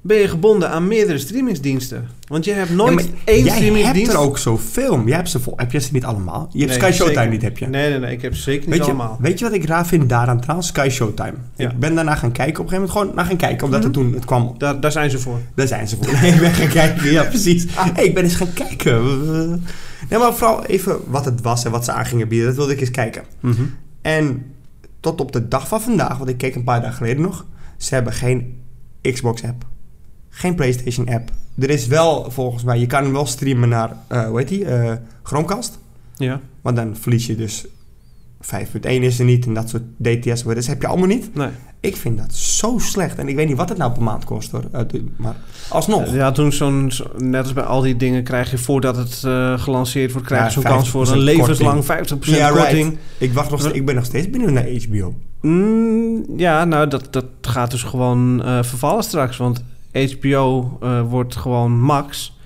[SPEAKER 2] ben je gebonden aan meerdere streamingsdiensten. Want je hebt
[SPEAKER 1] Ja,
[SPEAKER 2] nooit
[SPEAKER 1] maar
[SPEAKER 2] één
[SPEAKER 1] jij hebt
[SPEAKER 2] streamingsdienst...
[SPEAKER 1] er ook zoveel. Jij hebt ze, vol, heb je ze niet allemaal? Je hebt
[SPEAKER 2] Nee,
[SPEAKER 1] Sky Showtime
[SPEAKER 2] zeker.
[SPEAKER 1] niet, heb je?
[SPEAKER 2] Nee, nee, nee. Ik heb ze zeker niet
[SPEAKER 1] Weet je,
[SPEAKER 2] allemaal.
[SPEAKER 1] weet je wat ik raar vind daaraan trouwens? Sky Showtime.
[SPEAKER 2] Ja. Mhm.
[SPEAKER 1] Ik ben daarna gaan kijken. Op een gegeven moment gewoon naar gaan kijken. Omdat het toen, het kwam,
[SPEAKER 2] Daar, daar zijn ze voor.
[SPEAKER 1] daar zijn ze voor. Nee, ik ben gaan kijken, ja precies. Hey, ik ben eens gaan kijken. Nee, maar vooral even wat het was en wat ze aan gingen bieden. Dat wilde ik eens kijken. En tot op de dag van vandaag, want ik keek een paar dagen geleden nog, ze hebben geen Xbox-app. Geen PlayStation-app. Er is wel, volgens mij, je kan hem wel streamen naar, eh hoe heet die, eh, Chromecast.
[SPEAKER 2] Ja.
[SPEAKER 1] Maar dan verlies je dus 5.1 is er niet en dat soort DTS. Dat heb je allemaal niet.
[SPEAKER 2] Nee.
[SPEAKER 1] Ik vind dat zo slecht. En ik weet niet wat het nou per maand kost hoor. Eh, de- Maar alsnog.
[SPEAKER 2] Ja, toen zo'n, zo- net als bij al die dingen, krijg je voordat het eh, gelanceerd wordt, krijg je
[SPEAKER 1] Ja,
[SPEAKER 2] zo'n kans voor een
[SPEAKER 1] 50%
[SPEAKER 2] levenslang 50%
[SPEAKER 1] Ja, right.
[SPEAKER 2] korting.
[SPEAKER 1] Ik, wacht nog, steeds- ik ben nog steeds benieuwd naar HBO.
[SPEAKER 2] Mm, ja, nou, dat, dat gaat dus gewoon eh, vervallen straks. Want HBO eh, wordt gewoon max.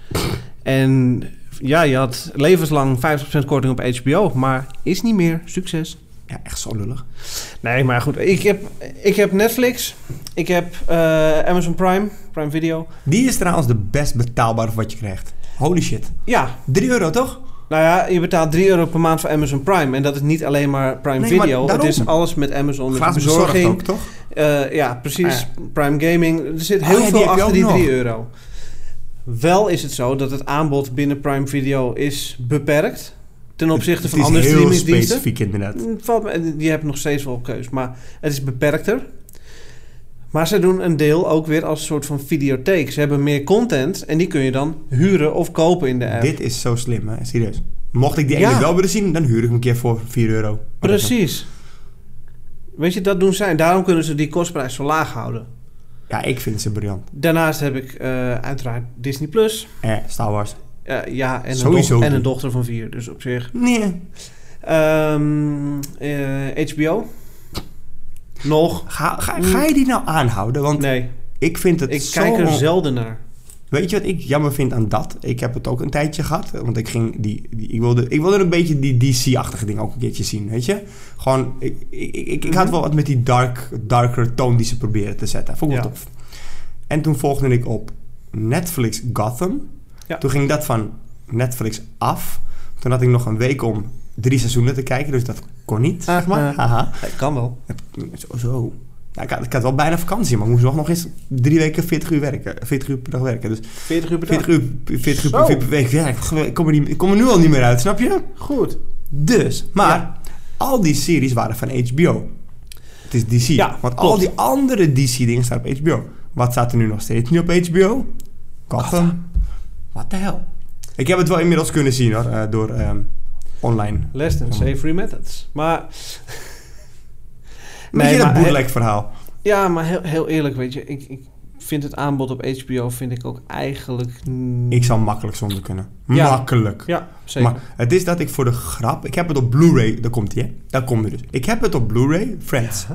[SPEAKER 2] en ja, je had levenslang 50% korting op HBO, maar is niet meer. Succes.
[SPEAKER 1] Ja, echt zo lullig.
[SPEAKER 2] Nee, maar goed. Ik heb, ik heb Netflix. Ik heb eh, Amazon Prime, Prime Video.
[SPEAKER 1] Die is trouwens de best betaalbare voor wat je krijgt. Holy shit.
[SPEAKER 2] Ja,
[SPEAKER 1] 3 euro toch?
[SPEAKER 2] Nou ja, je betaalt 3 euro per maand voor Amazon Prime. En dat is niet alleen maar Prime
[SPEAKER 1] Nee, maar
[SPEAKER 2] Video. het
[SPEAKER 1] daarom.
[SPEAKER 2] is alles met Amazon, met de
[SPEAKER 1] Gratis bezorgd
[SPEAKER 2] bezorging.
[SPEAKER 1] ook toch?
[SPEAKER 2] Eh, ja, precies. Prime Gaming. Er zit
[SPEAKER 1] Oh
[SPEAKER 2] heel
[SPEAKER 1] Ah, ja, die
[SPEAKER 2] veel
[SPEAKER 1] heb je
[SPEAKER 2] achter
[SPEAKER 1] ook
[SPEAKER 2] die
[SPEAKER 1] nog.
[SPEAKER 2] 3 euro. Wel is het zo dat het aanbod binnen Prime Video is beperkt. Ten opzichte
[SPEAKER 1] Het
[SPEAKER 2] van
[SPEAKER 1] is
[SPEAKER 2] andere
[SPEAKER 1] heel
[SPEAKER 2] streamingsdiensten.
[SPEAKER 1] specifiek inderdaad.
[SPEAKER 2] Valt me- Je hebt nog steeds wel keus, maar het is beperkter. Maar ze doen een deel ook weer als een soort van videotheek. Ze hebben meer content en die kun je dan huren of kopen in de app.
[SPEAKER 1] Dit is zo slim, hè? Serieus. Mocht ik die ene
[SPEAKER 2] Ja.
[SPEAKER 1] wel willen zien, dan huur ik hem een keer voor 4 euro.
[SPEAKER 2] Precies. Weet je, dat doen zij. En Daarom kunnen ze die kostprijs zo laag houden.
[SPEAKER 1] Ja, ik vind ze briljant.
[SPEAKER 2] Daarnaast heb ik eh, uiteraard Disney+. Plus.
[SPEAKER 1] Eh, Star Wars.
[SPEAKER 2] Eh, ja, en een,
[SPEAKER 1] Sowieso
[SPEAKER 2] doch- en
[SPEAKER 1] doen.
[SPEAKER 2] een dochter van vier. Dus op zich.
[SPEAKER 1] Nee.
[SPEAKER 2] Ehm, eh, HBO. Nog.
[SPEAKER 1] Ga, ga, ga je die nou aanhouden? Want
[SPEAKER 2] Nee,
[SPEAKER 1] ik vind het
[SPEAKER 2] ik
[SPEAKER 1] zo...
[SPEAKER 2] kijk er
[SPEAKER 1] on-
[SPEAKER 2] zelden naar.
[SPEAKER 1] Weet je wat ik jammer vind aan dat? Ik heb het ook een tijdje gehad. Want ik, ging die, die, ik, wilde, ik wilde een beetje die DC-achtige dingen ook een keertje zien, weet je? Gewoon, ik, ik, ik, ik
[SPEAKER 2] Mhm.
[SPEAKER 1] had wel wat met die dark, darker toon die ze proberen te zetten. Vond ik wel
[SPEAKER 2] Ja.
[SPEAKER 1] tof. En toen volgde ik op Netflix Gotham.
[SPEAKER 2] Ja.
[SPEAKER 1] Toen ging dat van Netflix af. Toen had ik nog een week om drie seizoenen te kijken. Dus dat kon niet,
[SPEAKER 2] Ah,
[SPEAKER 1] zeg maar.
[SPEAKER 2] ah.
[SPEAKER 1] Haha.
[SPEAKER 2] Dat kan wel.
[SPEAKER 1] Zo, zo. Ja, ik, had, ik had wel bijna vakantie, maar ik moest nog, nog eens drie weken 40 uur werken. 40 uur per dag werken. Dus
[SPEAKER 2] 40 uur per dag.
[SPEAKER 1] 40 uur, 40 uur
[SPEAKER 2] Zo.
[SPEAKER 1] per- per week. Ja, ik ik kom, er niet, ik kom er nu al niet meer uit, snap je?
[SPEAKER 2] Goed.
[SPEAKER 1] Dus, maar
[SPEAKER 2] Ja.
[SPEAKER 1] al die series waren van HBO. Het is DC.
[SPEAKER 2] Ja,
[SPEAKER 1] want
[SPEAKER 2] klopt.
[SPEAKER 1] al die andere DC-dingen staan op HBO. Wat staat er nu nog steeds niet op HBO? Gotham. What the hell? Ik heb het wel inmiddels kunnen zien hoor, eh, door ehm, online.
[SPEAKER 2] Less than savory methods. Maar...
[SPEAKER 1] Weet je dat
[SPEAKER 2] maar-
[SPEAKER 1] bootleg verhaal?
[SPEAKER 2] Ja, maar heel, heel eerlijk, weet je. Ik, ik vind het aanbod op HBO vind ik ook eigenlijk... mm,
[SPEAKER 1] Ik zou makkelijk zonder kunnen.
[SPEAKER 2] Ja.
[SPEAKER 1] Makkelijk.
[SPEAKER 2] Ja, zeker.
[SPEAKER 1] Maar het is dat ik voor de grap... Ik heb het op Blu-ray... Daar komt ie, hè? Daar kom je dus. Ik heb het op Blu-ray Friends.
[SPEAKER 2] (laughs)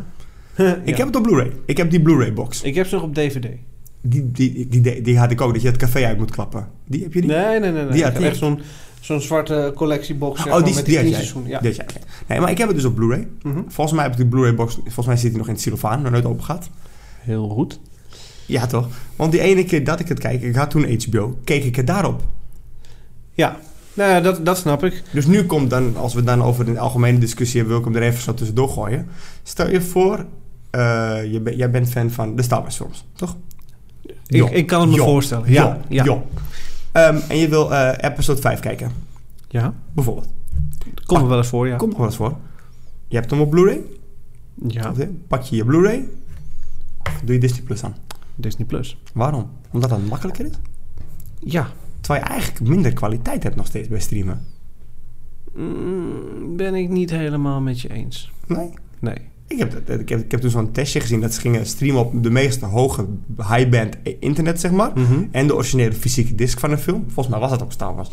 [SPEAKER 1] Ik heb het op Blu-ray. Ik heb die Blu-ray-box.
[SPEAKER 2] ik heb ze nog op DVD.
[SPEAKER 1] Die, die, die, die, die had ik ook, dat je het café uit moet klappen. Die heb je die?
[SPEAKER 2] Nee, nee, nee. nee.
[SPEAKER 1] Die
[SPEAKER 2] ik
[SPEAKER 1] had
[SPEAKER 2] heb
[SPEAKER 1] die.
[SPEAKER 2] echt zo'n zo'n zwarte collectiebox zeg
[SPEAKER 1] oh,
[SPEAKER 2] maar,
[SPEAKER 1] die,
[SPEAKER 2] met
[SPEAKER 1] die,
[SPEAKER 2] die
[SPEAKER 1] had
[SPEAKER 2] tien
[SPEAKER 1] jij.
[SPEAKER 2] seizoenen. Ja.
[SPEAKER 1] Die had jij. Nee, maar ik heb het dus op Blu-ray.
[SPEAKER 2] Mhm.
[SPEAKER 1] Volgens mij heb ik die Blu-ray-box... Volgens mij zit die nog in het silofaan, nog nooit open gehad.
[SPEAKER 2] Heel goed.
[SPEAKER 1] Ja, toch? Want die ene keer dat ik het kijk, ik had toen HBO, keek ik het daarop.
[SPEAKER 2] Ja, nou, ja, dat, dat snap ik.
[SPEAKER 1] Dus nu komt dan, als we dan over een algemene discussie hebben, wil ik hem er even zo tussendoor gooien. Stel je voor, eh, je ben- jij bent fan van de Star Wars films, toch?
[SPEAKER 2] Ik, ik kan het me
[SPEAKER 1] Jo.
[SPEAKER 2] voorstellen.
[SPEAKER 1] Ja, ja.
[SPEAKER 2] Ja, ja.
[SPEAKER 1] Ehm, en je wil eh, episode 5 kijken,
[SPEAKER 2] ja.
[SPEAKER 1] bijvoorbeeld.
[SPEAKER 2] Komt er wel eens voor, ja.
[SPEAKER 1] Komt nog wel eens voor. Je hebt hem op Blu-ray.
[SPEAKER 2] Ja,
[SPEAKER 1] Pak je je Blu-ray. Doe je Disney Plus aan.
[SPEAKER 2] Disney+. Plus.
[SPEAKER 1] Waarom? Omdat dat makkelijker is?
[SPEAKER 2] Ja,
[SPEAKER 1] Terwijl je eigenlijk minder kwaliteit hebt nog steeds bij streamen.
[SPEAKER 2] Mm, ben ik niet helemaal met je eens.
[SPEAKER 1] Nee?
[SPEAKER 2] Nee.
[SPEAKER 1] Ik heb, dat- ik heb, ik heb toen zo'n testje gezien dat ze gingen streamen op de meest hoge high-band internet, zeg maar.
[SPEAKER 2] Mhm.
[SPEAKER 1] En de originele fysieke disc van een film. Volgens mij was dat ook Star Wars.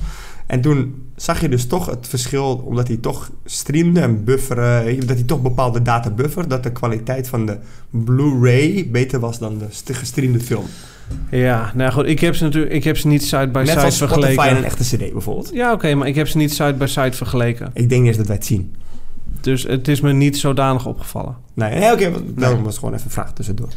[SPEAKER 1] En toen zag je dus toch het verschil, omdat hij toch streamde en bufferen, weet je, dat hij toch bepaalde data buffer, dat de kwaliteit van de Blu-ray beter was dan de st- gestreamde film.
[SPEAKER 2] Ja, nou goed, ik heb ze natuurlijk ik heb ze niet side by
[SPEAKER 1] Net
[SPEAKER 2] side
[SPEAKER 1] als Spotify en
[SPEAKER 2] vergeleken.
[SPEAKER 1] een echte CD bijvoorbeeld.
[SPEAKER 2] Ja, oké, maar ik heb ze niet side by side vergeleken.
[SPEAKER 1] Ik denk niet eens dat wij het zien.
[SPEAKER 2] Dus het is me niet zodanig opgevallen.
[SPEAKER 1] Nee, nee oké, want daarom was het gewoon even een vraag tussendoor.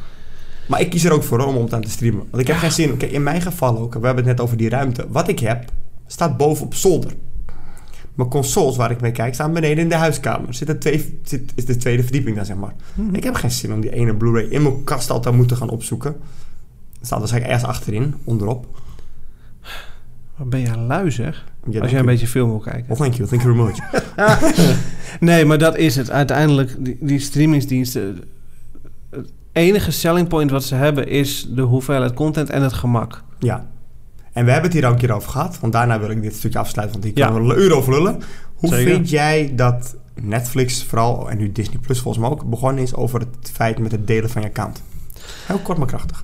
[SPEAKER 1] Maar ik kies er ook voor hoor, om het aan te streamen. Want ik heb geen zin. Oké, in mijn geval ook, we hebben het net over die ruimte. Wat ik heb, staat boven op zolder. Mijn consoles waar ik mee kijk, staan beneden in de huiskamer. Zit er twee, zit, is de tweede verdieping daar, zeg maar.
[SPEAKER 2] Mhm.
[SPEAKER 1] Ik heb geen zin om die ene Blu-ray in mijn kast altijd moeten gaan opzoeken. Het staat waarschijnlijk ergens achterin, onderop.
[SPEAKER 2] Wat ben jij lui zeg?
[SPEAKER 1] Ja,
[SPEAKER 2] Als
[SPEAKER 1] dank
[SPEAKER 2] jij een
[SPEAKER 1] u.
[SPEAKER 2] beetje film wil kijken.
[SPEAKER 1] Oh, thank you, thank you very much.
[SPEAKER 2] (laughs) Nee, maar dat is het. Uiteindelijk, die, die streamingsdiensten... Het enige selling point wat ze hebben is de hoeveelheid content en het gemak.
[SPEAKER 1] Ja. En we hebben het hier al een keer over gehad, want daarna wil ik dit stukje afsluiten, want hier
[SPEAKER 2] Ja.
[SPEAKER 1] kunnen we een uur over lullen. Hoe
[SPEAKER 2] Zeker.
[SPEAKER 1] vind jij dat Netflix vooral, en nu Disney Plus volgens mij ook, begonnen is over het feit met het delen van je account? Heel kort maar krachtig.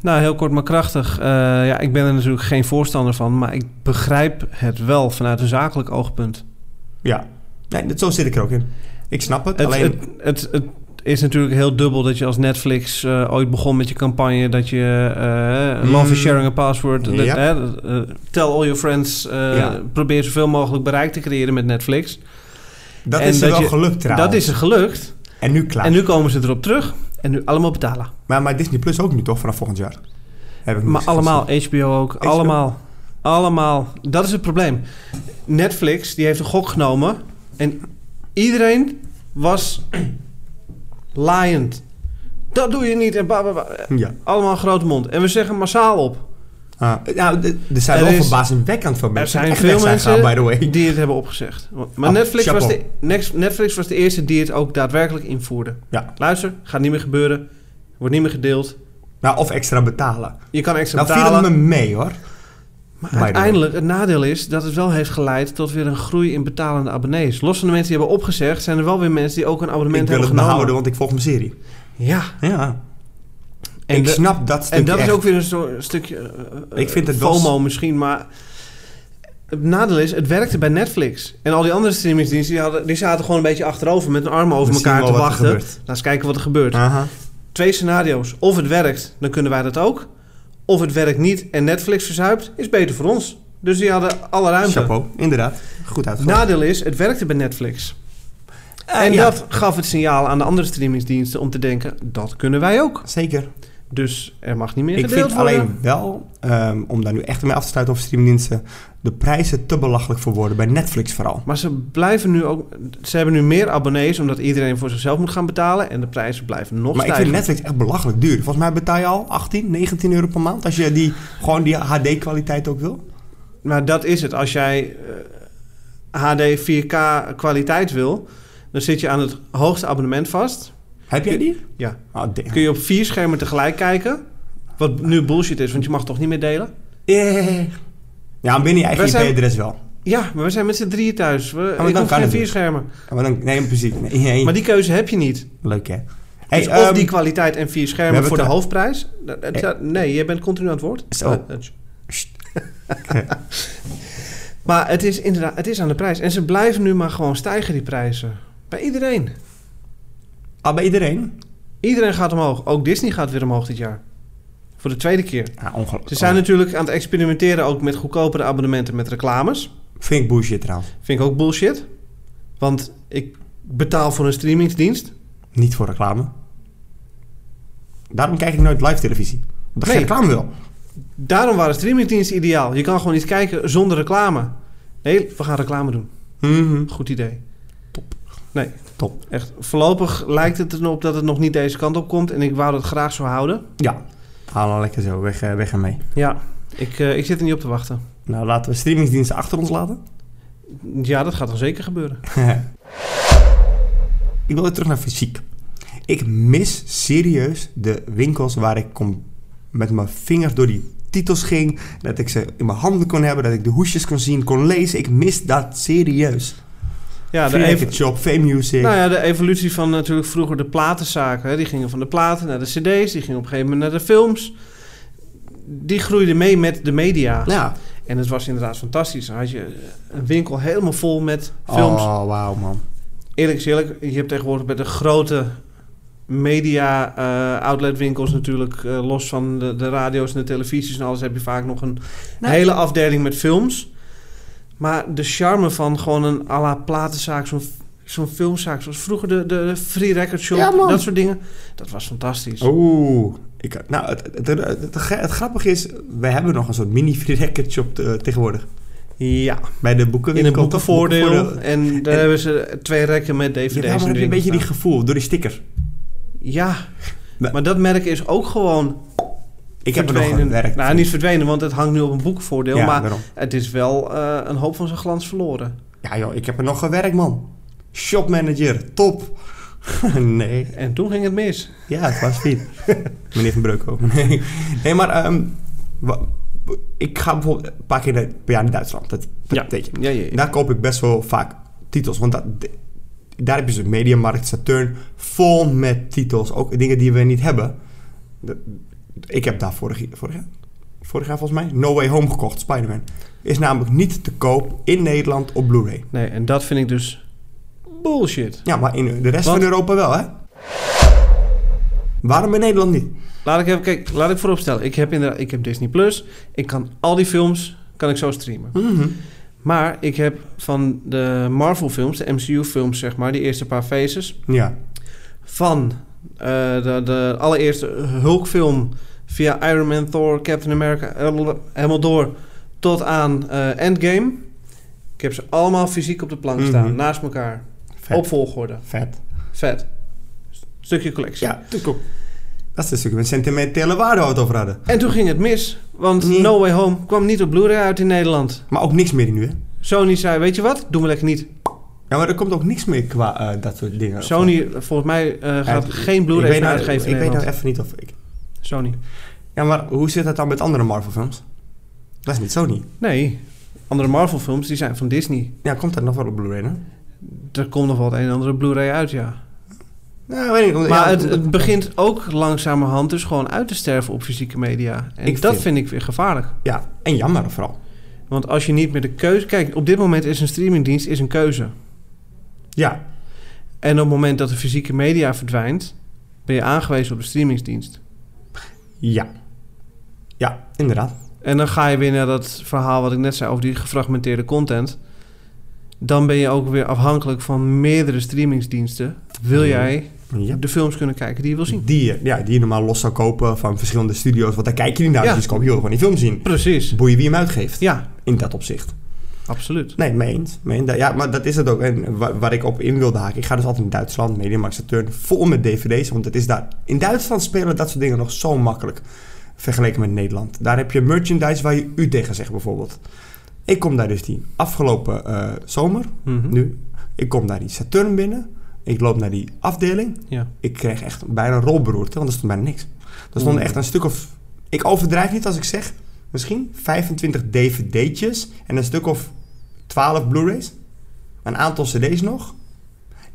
[SPEAKER 2] Nou, heel kort maar krachtig. Eh, ja, ik ben er natuurlijk geen voorstander van, maar ik begrijp het wel vanuit een zakelijk oogpunt.
[SPEAKER 1] Ja. Nee, dat- zo zit ik er ook in. Ik snap het,
[SPEAKER 2] Het,
[SPEAKER 1] alleen...
[SPEAKER 2] het, het, het is natuurlijk heel dubbel dat je als Netflix eh, ooit begon met je campagne dat je eh, love
[SPEAKER 1] Mm.
[SPEAKER 2] is sharing a password, dat,
[SPEAKER 1] Ja.
[SPEAKER 2] hè, dat, eh, tell all your friends, eh,
[SPEAKER 1] Ja.
[SPEAKER 2] probeer zoveel mogelijk bereik te creëren met Netflix.
[SPEAKER 1] dat
[SPEAKER 2] en
[SPEAKER 1] is er
[SPEAKER 2] dat
[SPEAKER 1] wel
[SPEAKER 2] je-
[SPEAKER 1] gelukt trouwens.
[SPEAKER 2] Dat is er gelukt
[SPEAKER 1] En nu klaar.
[SPEAKER 2] en nu komen ze erop terug en nu allemaal betalen.
[SPEAKER 1] Maar, maar Disney Plus ook nu toch, vanaf volgend jaar? Heb ik nu
[SPEAKER 2] Maar
[SPEAKER 1] gezien.
[SPEAKER 2] allemaal, HBO ook,
[SPEAKER 1] HBO.
[SPEAKER 2] allemaal. Allemaal. Dat is het probleem. Netflix, die heeft een gok genomen. En iedereen was (clears throat) laaiend. Dat doe je niet. En ba, ba, ba.
[SPEAKER 1] Ja.
[SPEAKER 2] Allemaal een grote mond. En we zeggen massaal op.
[SPEAKER 1] Ah, nou, d- er zijn
[SPEAKER 2] Er
[SPEAKER 1] wel
[SPEAKER 2] is-
[SPEAKER 1] verbazingwekkend veel
[SPEAKER 2] Er
[SPEAKER 1] mensen die
[SPEAKER 2] zijn
[SPEAKER 1] echt
[SPEAKER 2] veel
[SPEAKER 1] weg zijn gegaan,
[SPEAKER 2] mensen
[SPEAKER 1] by the way.
[SPEAKER 2] die het hebben opgezegd. Maar
[SPEAKER 1] Ah,
[SPEAKER 2] Netflix, was de,
[SPEAKER 1] chapeau.
[SPEAKER 2] Next- Netflix was de eerste die het ook daadwerkelijk invoerde.
[SPEAKER 1] Ja.
[SPEAKER 2] Luister, gaat niet meer gebeuren. Wordt niet meer gedeeld.
[SPEAKER 1] Nou, of extra betalen.
[SPEAKER 2] Je kan extra
[SPEAKER 1] Nou,
[SPEAKER 2] betalen.
[SPEAKER 1] viel het me mee hoor.
[SPEAKER 2] Maar
[SPEAKER 1] By the way.
[SPEAKER 2] uiteindelijk, het nadeel is dat het wel heeft geleid tot weer een groei in betalende abonnees. Los van de mensen die hebben opgezegd, zijn er wel weer mensen die ook een abonnement
[SPEAKER 1] Ik wil
[SPEAKER 2] hebben
[SPEAKER 1] het
[SPEAKER 2] genomen.
[SPEAKER 1] behouden, want ik volg mijn serie.
[SPEAKER 2] Ja,
[SPEAKER 1] Ja.
[SPEAKER 2] en,
[SPEAKER 1] ik
[SPEAKER 2] de-
[SPEAKER 1] snap dat stuk
[SPEAKER 2] en dat
[SPEAKER 1] echt.
[SPEAKER 2] is ook weer een soort- een stukje eh,
[SPEAKER 1] Ik vind het wel-
[SPEAKER 2] FOMO misschien, maar het nadeel is, het werkte bij Netflix. En al die andere streamingsdiensten, die, hadden, die zaten gewoon een beetje achterover met hun armen over
[SPEAKER 1] We zien
[SPEAKER 2] elkaar
[SPEAKER 1] wel
[SPEAKER 2] te
[SPEAKER 1] wat er
[SPEAKER 2] wachten.
[SPEAKER 1] gebeurt.
[SPEAKER 2] Laat eens kijken wat er gebeurt.
[SPEAKER 1] Aha.
[SPEAKER 2] Twee scenario's. Of het werkt, dan kunnen wij dat ook. Of het werkt niet en Netflix verzuipt, is beter voor ons. Dus die hadden alle ruimte.
[SPEAKER 1] Chapeau, inderdaad. Goed uitgelegd.
[SPEAKER 2] Nadeel is, het werkte bij Netflix.
[SPEAKER 1] Eh,
[SPEAKER 2] en
[SPEAKER 1] ja.
[SPEAKER 2] dat gaf het signaal aan de andere streamingsdiensten om te denken, dat kunnen wij ook.
[SPEAKER 1] Zeker.
[SPEAKER 2] Dus er mag niet meer
[SPEAKER 1] Ik
[SPEAKER 2] gedeeld
[SPEAKER 1] vind
[SPEAKER 2] worden.
[SPEAKER 1] alleen wel, ehm, om daar nu echt mee af te sluiten over streamingdiensten, de prijzen te belachelijk voor worden. Bij Netflix vooral.
[SPEAKER 2] Maar ze blijven nu ook, ze hebben nu meer abonnees omdat iedereen voor zichzelf moet gaan betalen en de prijzen blijven nog
[SPEAKER 1] maar ik
[SPEAKER 2] stijgen.
[SPEAKER 1] vind Netflix echt belachelijk duur. Volgens mij betaal je al 18, 19 euro per maand als je die, gewoon die HD-kwaliteit ook wil.
[SPEAKER 2] Maar dat is het. Als jij eh, HD 4K kwaliteit wil, dan zit je aan het hoogste abonnement vast.
[SPEAKER 1] Heb jij die?
[SPEAKER 2] Ja.
[SPEAKER 1] Ah, damn.
[SPEAKER 2] Kun je op vier schermen tegelijk kijken. Wat nu bullshit is, want je mag toch niet meer delen?
[SPEAKER 1] Eh. Ja, binnen je eigen
[SPEAKER 2] Wij zijn-
[SPEAKER 1] IP-adres wel.
[SPEAKER 2] Ja, maar we zijn met z'n drieën thuis. We,
[SPEAKER 1] maar
[SPEAKER 2] ik
[SPEAKER 1] dan
[SPEAKER 2] hoef
[SPEAKER 1] kan
[SPEAKER 2] geen
[SPEAKER 1] het
[SPEAKER 2] vier
[SPEAKER 1] dus.
[SPEAKER 2] schermen.
[SPEAKER 1] Maar dan, nee, precies. Nee, nee.
[SPEAKER 2] Maar die keuze heb je niet.
[SPEAKER 1] Leuk hè? Hey,
[SPEAKER 2] dus of
[SPEAKER 1] ehm,
[SPEAKER 2] die kwaliteit en vier schermen
[SPEAKER 1] hebben
[SPEAKER 2] voor de
[SPEAKER 1] het er-
[SPEAKER 2] hoofdprijs. Dat- dat-
[SPEAKER 1] Eh.
[SPEAKER 2] dat- Nee, jij bent continu aan het woord.
[SPEAKER 1] Zo.
[SPEAKER 2] Eh, eh, (laughs) maar het is inderdaad, het is aan de prijs. En ze blijven nu maar gewoon stijgen, die prijzen. Bij iedereen.
[SPEAKER 1] Ah, bij iedereen?
[SPEAKER 2] Iedereen gaat omhoog. Ook Disney gaat weer omhoog dit jaar. Voor de tweede keer.
[SPEAKER 1] Ja, ongelooflijk.
[SPEAKER 2] Ze zijn natuurlijk aan het experimenteren ook met goedkopere abonnementen met reclames.
[SPEAKER 1] Vind ik bullshit trouwens.
[SPEAKER 2] Vind ik ook bullshit. Want ik betaal voor een streamingsdienst.
[SPEAKER 1] Niet voor reclame. Daarom kijk ik nooit live televisie. Omdat ik
[SPEAKER 2] Nee.
[SPEAKER 1] geen reclame wil.
[SPEAKER 2] Daarom waren streamingdiensten ideaal. Je kan gewoon iets kijken zonder reclame. Nee, we gaan reclame doen.
[SPEAKER 1] Mhm.
[SPEAKER 2] Goed idee.
[SPEAKER 1] Top.
[SPEAKER 2] Echt, voorlopig lijkt het erop dat het nog niet deze kant op komt. En ik wou dat graag zo houden.
[SPEAKER 1] Ja. Haal dan lekker zo. Weg, eh, weg ermee.
[SPEAKER 2] Ja, ik, eh, ik zit er niet op te wachten.
[SPEAKER 1] Nou, laten we streamingsdiensten achter ons laten. (laughs)
[SPEAKER 2] Ja, dat gaat dan zeker gebeuren.
[SPEAKER 1] ik wil weer terug naar fysiek. Ik mis serieus de winkels waar ik kon met mijn vingers door die titels ging. Dat ik ze in mijn handen kon hebben. Dat ik de hoesjes kon zien, kon lezen. Ik mis dat serieus.
[SPEAKER 2] Ja, de
[SPEAKER 1] Free
[SPEAKER 2] ev-
[SPEAKER 1] Naked Shop, Fame Music.
[SPEAKER 2] nou ja, de evolutie van natuurlijk vroeger de platenzaken. Hè. Die gingen van de platen naar de cd's, die gingen op een gegeven moment naar de films. Die groeiden mee met de media.
[SPEAKER 1] Ja.
[SPEAKER 2] En het was inderdaad fantastisch. Dan had je een winkel helemaal vol met films.
[SPEAKER 1] Oh, wauw man.
[SPEAKER 2] Eerlijk is eerlijk, je hebt tegenwoordig bij de grote media eh, outletwinkels natuurlijk, eh, los van de, de radio's en de televisies en alles, heb je vaak nog een
[SPEAKER 1] Nou,
[SPEAKER 2] hele afdeling met films. Maar de charme van gewoon een à la platenzaak, zo'n zo'n filmzaak, zoals vroeger de, de free record shop,
[SPEAKER 1] Ja, man.
[SPEAKER 2] dat soort dingen, dat was fantastisch.
[SPEAKER 1] Oeh. Ik, nou, het, het, het, het- het grappige is, wij hebben nog een soort mini free record shop eh, tegenwoordig.
[SPEAKER 2] Ja,
[SPEAKER 1] Bij de boekenwinkel.
[SPEAKER 2] in een
[SPEAKER 1] toch?
[SPEAKER 2] boekenvoordeel.
[SPEAKER 1] Boekenvoordeel. (laughs)
[SPEAKER 2] En daar
[SPEAKER 1] En-
[SPEAKER 2] hebben ze twee rekken met DVD's.
[SPEAKER 1] Ja, maar
[SPEAKER 2] en
[SPEAKER 1] heb je een
[SPEAKER 2] dingen
[SPEAKER 1] beetje die
[SPEAKER 2] staan.
[SPEAKER 1] gevoel door die sticker.
[SPEAKER 2] Ja,
[SPEAKER 1] Nou.
[SPEAKER 2] maar dat merk is ook gewoon
[SPEAKER 1] Ik heb er nog
[SPEAKER 2] verdwenen.
[SPEAKER 1] gewerkt.
[SPEAKER 2] Nou, niet verdwenen, want het hangt nu op een boekvoordeel.
[SPEAKER 1] ja,
[SPEAKER 2] maar
[SPEAKER 1] daarom.
[SPEAKER 2] het is wel eh, een hoop van zijn glans verloren.
[SPEAKER 1] Ja joh, ik heb er nog gewerkt man. Shopmanager, top. (laughs) nee.
[SPEAKER 2] En toen ging het mis.
[SPEAKER 1] Ja, het was Piet. (laughs) Meneer Van Breukhoven. (laughs) Nee, nee maar ehm, wa- ik ga bijvoorbeeld een paar keer naar- per jaar naar Duitsland. Dat, dat weet je.
[SPEAKER 2] Ja, ja, ja.
[SPEAKER 1] Daar koop ik best wel vaak titels. Want dat, daar heb je zo'n mediamarkt, Saturn, vol met titels. Ook dingen die we niet hebben. Dat- ik heb daar vorig, vorig, jaar, vorig jaar volgens mij No Way Home gekocht, Spider-Man. Is namelijk niet te koop in Nederland op Blu-ray.
[SPEAKER 2] Nee, en dat vind ik dus bullshit.
[SPEAKER 1] Ja, maar in de rest
[SPEAKER 2] Want-
[SPEAKER 1] van Europa wel, hè? Waarom in Nederland niet?
[SPEAKER 2] Laat ik even, kijk, laat ik vooropstellen. Ik heb inderdaad, ik heb Disney Plus. Ik kan al die films, kan ik zo streamen.
[SPEAKER 1] Mhm.
[SPEAKER 2] Maar ik heb van de Marvel films, de MCU films zeg maar, die eerste paar phases.
[SPEAKER 1] Ja.
[SPEAKER 2] Van eh, de, de allereerste Hulk film via Iron Man, Thor, Captain America, eh, helemaal door tot aan eh, Endgame. Ik heb ze allemaal fysiek op de plank staan,
[SPEAKER 1] Mhm.
[SPEAKER 2] naast elkaar,
[SPEAKER 1] Vet.
[SPEAKER 2] op volgorde.
[SPEAKER 1] Vet.
[SPEAKER 2] Vet. Stukje collectie.
[SPEAKER 1] Ja, natuurlijk. Dat is natuurlijk een sentimentele waarde waar we het over hadden.
[SPEAKER 2] En toen ging het mis, want
[SPEAKER 1] Nee.
[SPEAKER 2] No Way Home kwam niet op Blu-ray uit in Nederland.
[SPEAKER 1] Maar ook niks meer nu, hè?
[SPEAKER 2] Sony zei, weet je wat, doen we lekker niet.
[SPEAKER 1] Ja, maar er komt ook niks meer qua eh, dat soort dingen.
[SPEAKER 2] Sony, volgens mij, eh, gaat
[SPEAKER 1] Ja,
[SPEAKER 2] geen
[SPEAKER 1] Ik
[SPEAKER 2] Blu-ray
[SPEAKER 1] weet
[SPEAKER 2] meer
[SPEAKER 1] nou-
[SPEAKER 2] uitgeven in
[SPEAKER 1] Ik weet
[SPEAKER 2] Nederland.
[SPEAKER 1] nou even niet of ik...
[SPEAKER 2] Sony.
[SPEAKER 1] Ja, maar hoe zit dat dan met andere Marvel-films? Dat is niet Sony.
[SPEAKER 2] Nee, andere Marvel films, die zijn van Disney.
[SPEAKER 1] Ja, komt dat nog wel op Blu-ray, hè?
[SPEAKER 2] Er komt nog wel het een en ander op Blu-ray uit, ja.
[SPEAKER 1] Nou, weet ik niet.
[SPEAKER 2] Maar
[SPEAKER 1] Ja,
[SPEAKER 2] het, het begint ook langzamerhand dus gewoon uit te sterven op fysieke media. En
[SPEAKER 1] Ik
[SPEAKER 2] dat
[SPEAKER 1] vind-
[SPEAKER 2] vind ik weer gevaarlijk.
[SPEAKER 1] Ja, en jammer vooral.
[SPEAKER 2] Want als je niet meer de keuze... Kijk, op dit moment is een streamingdienst is een keuze.
[SPEAKER 1] Ja.
[SPEAKER 2] En op het moment dat de fysieke media verdwijnt... ben je aangewezen op de streamingsdienst.
[SPEAKER 1] Ja. Ja, inderdaad.
[SPEAKER 2] En dan ga je weer naar dat verhaal wat ik net zei... over die gefragmenteerde content. Dan ben je ook weer afhankelijk van meerdere streamingsdiensten. Wil jij
[SPEAKER 1] Mhm. Ja.
[SPEAKER 2] de films kunnen kijken die je wil zien?
[SPEAKER 1] Die, je- ja, die je normaal los zou kopen van verschillende studio's. Want daar kijk je niet naar.
[SPEAKER 2] Ja.
[SPEAKER 1] Dus je wil gewoon die film zien.
[SPEAKER 2] Precies.
[SPEAKER 1] Boeien wie hem uitgeeft.
[SPEAKER 2] Ja,
[SPEAKER 1] In dat opzicht.
[SPEAKER 2] absoluut.
[SPEAKER 1] Nee, mee eens. Mee eens. Ja, maar dat is het ook. En wa- waar, ik op in wilde haken. Ik ga dus altijd in Duitsland, Mediamarkt Saturn, vol met dvd's. Want het is daar... In Duitsland spelen dat soort dingen nog zo makkelijk. Vergeleken met Nederland. Daar heb je merchandise waar je u tegen zegt bijvoorbeeld. Ik kom daar dus die afgelopen eh, zomer,
[SPEAKER 2] Mhm.
[SPEAKER 1] nu. Ik kom daar die Saturn binnen. Ik loop naar die afdeling.
[SPEAKER 2] Ja.
[SPEAKER 1] Ik kreeg echt bijna een rolberoerte, want er stond bijna niks. Er stonden
[SPEAKER 2] Oeh.
[SPEAKER 1] echt een stuk of... Ik overdrijf niet als ik zeg, misschien 25 dvd'tjes en een stuk of 12 blu-rays. Een aantal cd's nog.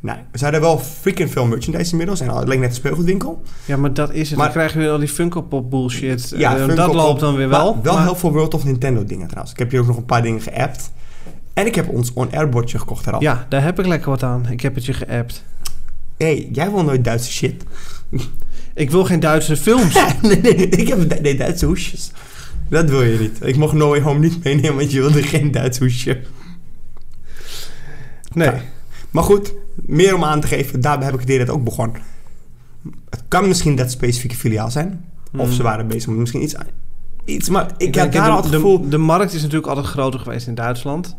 [SPEAKER 1] Nou, ze hadden wel freaking veel merchandise inmiddels. En het leek net een speelgoedwinkel.
[SPEAKER 2] Ja, maar dat is het.
[SPEAKER 1] Maar-
[SPEAKER 2] dan krijg je weer al die Funko Pop bullshit.
[SPEAKER 1] Ja,
[SPEAKER 2] Eh,
[SPEAKER 1] Funko
[SPEAKER 2] dat
[SPEAKER 1] Pop,
[SPEAKER 2] loopt dan weer wel.
[SPEAKER 1] Maar wel
[SPEAKER 2] maar-
[SPEAKER 1] heel veel World of Nintendo dingen trouwens. Ik heb hier ook nog een paar dingen geappt. En ik heb ons on-air bordje gekocht eraf.
[SPEAKER 2] Ja, daar heb ik lekker wat aan. Ik heb het je geappt.
[SPEAKER 1] Hé, hey, jij wil nooit Duitse shit.
[SPEAKER 2] Ik wil geen Duitse films.
[SPEAKER 1] (laughs) nee, nee, ik heb Du- nee, Duitse hoesjes. Dat wil je niet. Ik mocht No Way Home niet meenemen, want je wilde geen Duits hoesje.
[SPEAKER 2] Nee.
[SPEAKER 1] Ja. Maar goed, meer om aan te geven, daarbij heb ik het eerder ook begonnen. Het kan misschien dat specifieke filiaal zijn. Of ze waren bezig met misschien iets... iets maar Mhm. ik,
[SPEAKER 2] Hmm. denk,
[SPEAKER 1] had daar
[SPEAKER 2] de,
[SPEAKER 1] al het
[SPEAKER 2] de-
[SPEAKER 1] gevoel...
[SPEAKER 2] De, markt is natuurlijk altijd groter geweest in Duitsland.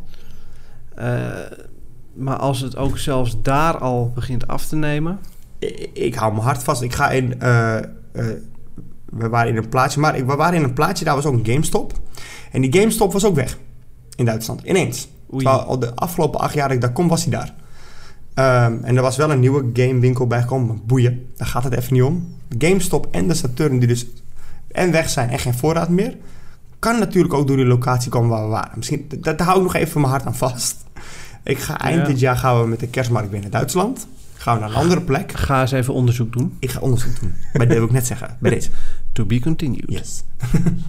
[SPEAKER 2] Eh, maar als het ook zelfs daar al begint af te nemen.
[SPEAKER 1] ik, ik hou mijn hart vast. Ik ga in... eh, eh, we waren in een plaatsje, maar ik, we waren in een plaatsje, daar was ook een GameStop. En die GameStop was ook weg. In Duitsland, ineens.
[SPEAKER 2] Oei.
[SPEAKER 1] Terwijl al de afgelopen acht jaar dat ik daar kom, was hij daar. Ehm, en er was wel een nieuwe gamewinkel bijgekomen. maar Boeien, daar gaat het even niet om. GameStop en de Saturn, die dus en weg zijn en geen voorraad meer... kan natuurlijk ook door die locatie komen waar we waren. Misschien, dat- daar hou ik nog even mijn hart aan vast. (laughs) Ik ga eind
[SPEAKER 2] Ja.
[SPEAKER 1] dit jaar gaan we met de kerstmarkt weer naar Duitsland. Gaan we naar een andere plek.
[SPEAKER 2] Ga eens even onderzoek doen.
[SPEAKER 1] Ik ga onderzoek doen. (laughs) Bij dat wil ik net zeggen. Bij deze.
[SPEAKER 2] To be continued.
[SPEAKER 1] Yes.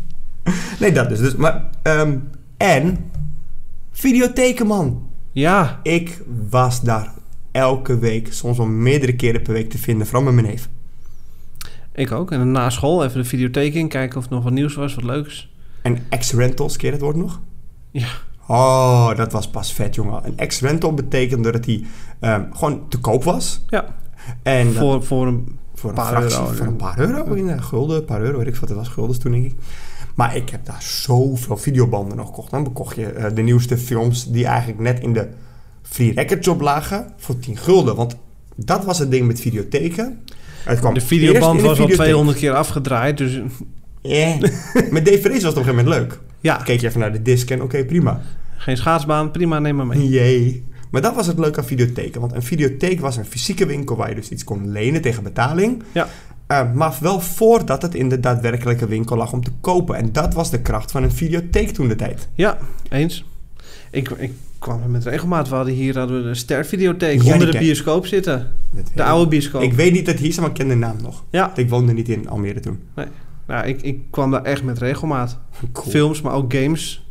[SPEAKER 1] (laughs) nee, dat dus. dus maar, ehm, en, videotheken, man.
[SPEAKER 2] Ja,
[SPEAKER 1] Ik was daar elke week, soms wel meerdere keren per week te vinden, vooral met mijn neef.
[SPEAKER 2] ik ook. En dan na school even de videotheek in, kijken of er nog wat nieuws was, wat leuks.
[SPEAKER 1] En ex-rentals, keer het woord nog?
[SPEAKER 2] Ja.
[SPEAKER 1] Oh, dat was pas vet, jongen. Een ex-rental betekende dat hij ehm, gewoon te koop was.
[SPEAKER 2] Ja,
[SPEAKER 1] En dat-
[SPEAKER 2] voor, voor een...
[SPEAKER 1] voor een
[SPEAKER 2] Paar
[SPEAKER 1] fractie
[SPEAKER 2] euro,
[SPEAKER 1] van
[SPEAKER 2] ja.
[SPEAKER 1] een paar euro. In, eh, gulden, een paar euro, weet ik wat het was, guldens toen denk ik. Maar ik heb daar zoveel videobanden nog gekocht. Dan bekocht je eh, de nieuwste films die eigenlijk net in de free record shop lagen voor 10 gulden. Want dat was het ding met videotheken. Het kwam
[SPEAKER 2] De
[SPEAKER 1] eerst in
[SPEAKER 2] videoband
[SPEAKER 1] de
[SPEAKER 2] was al
[SPEAKER 1] videotheek.
[SPEAKER 2] 200 keer afgedraaid, dus (laughs)
[SPEAKER 1] Ja. met DVD's was het op een gegeven moment leuk. Ah,
[SPEAKER 2] ja,
[SPEAKER 1] Keek je even naar de disc en oké, prima.
[SPEAKER 2] geen schaatsbaan, prima, neem maar mee.
[SPEAKER 1] Jee. Maar dat was het leuke aan videotheken. Want een videotheek was een fysieke winkel waar je dus iets kon lenen tegen betaling.
[SPEAKER 2] Ja.
[SPEAKER 1] Eh, maar wel voordat het in de daadwerkelijke winkel lag om te kopen. En dat was de kracht van een videotheek toen de tijd.
[SPEAKER 2] Ja, eens. Ik, ik kwam er met regelmaat. We hadden hier hadden we de stervideotheek
[SPEAKER 1] Ja, die
[SPEAKER 2] onder de
[SPEAKER 1] ken-
[SPEAKER 2] bioscoop zitten.
[SPEAKER 1] Dat weet
[SPEAKER 2] De
[SPEAKER 1] ik.
[SPEAKER 2] oude bioscoop.
[SPEAKER 1] Ik weet niet dat het hier is, maar ik ken de naam nog.
[SPEAKER 2] Ja.
[SPEAKER 1] Ik woonde niet in Almere toen. (laughs)
[SPEAKER 2] Nou, ik, ik kwam daar echt met regelmaat.
[SPEAKER 1] Cool.
[SPEAKER 2] Films, maar ook games.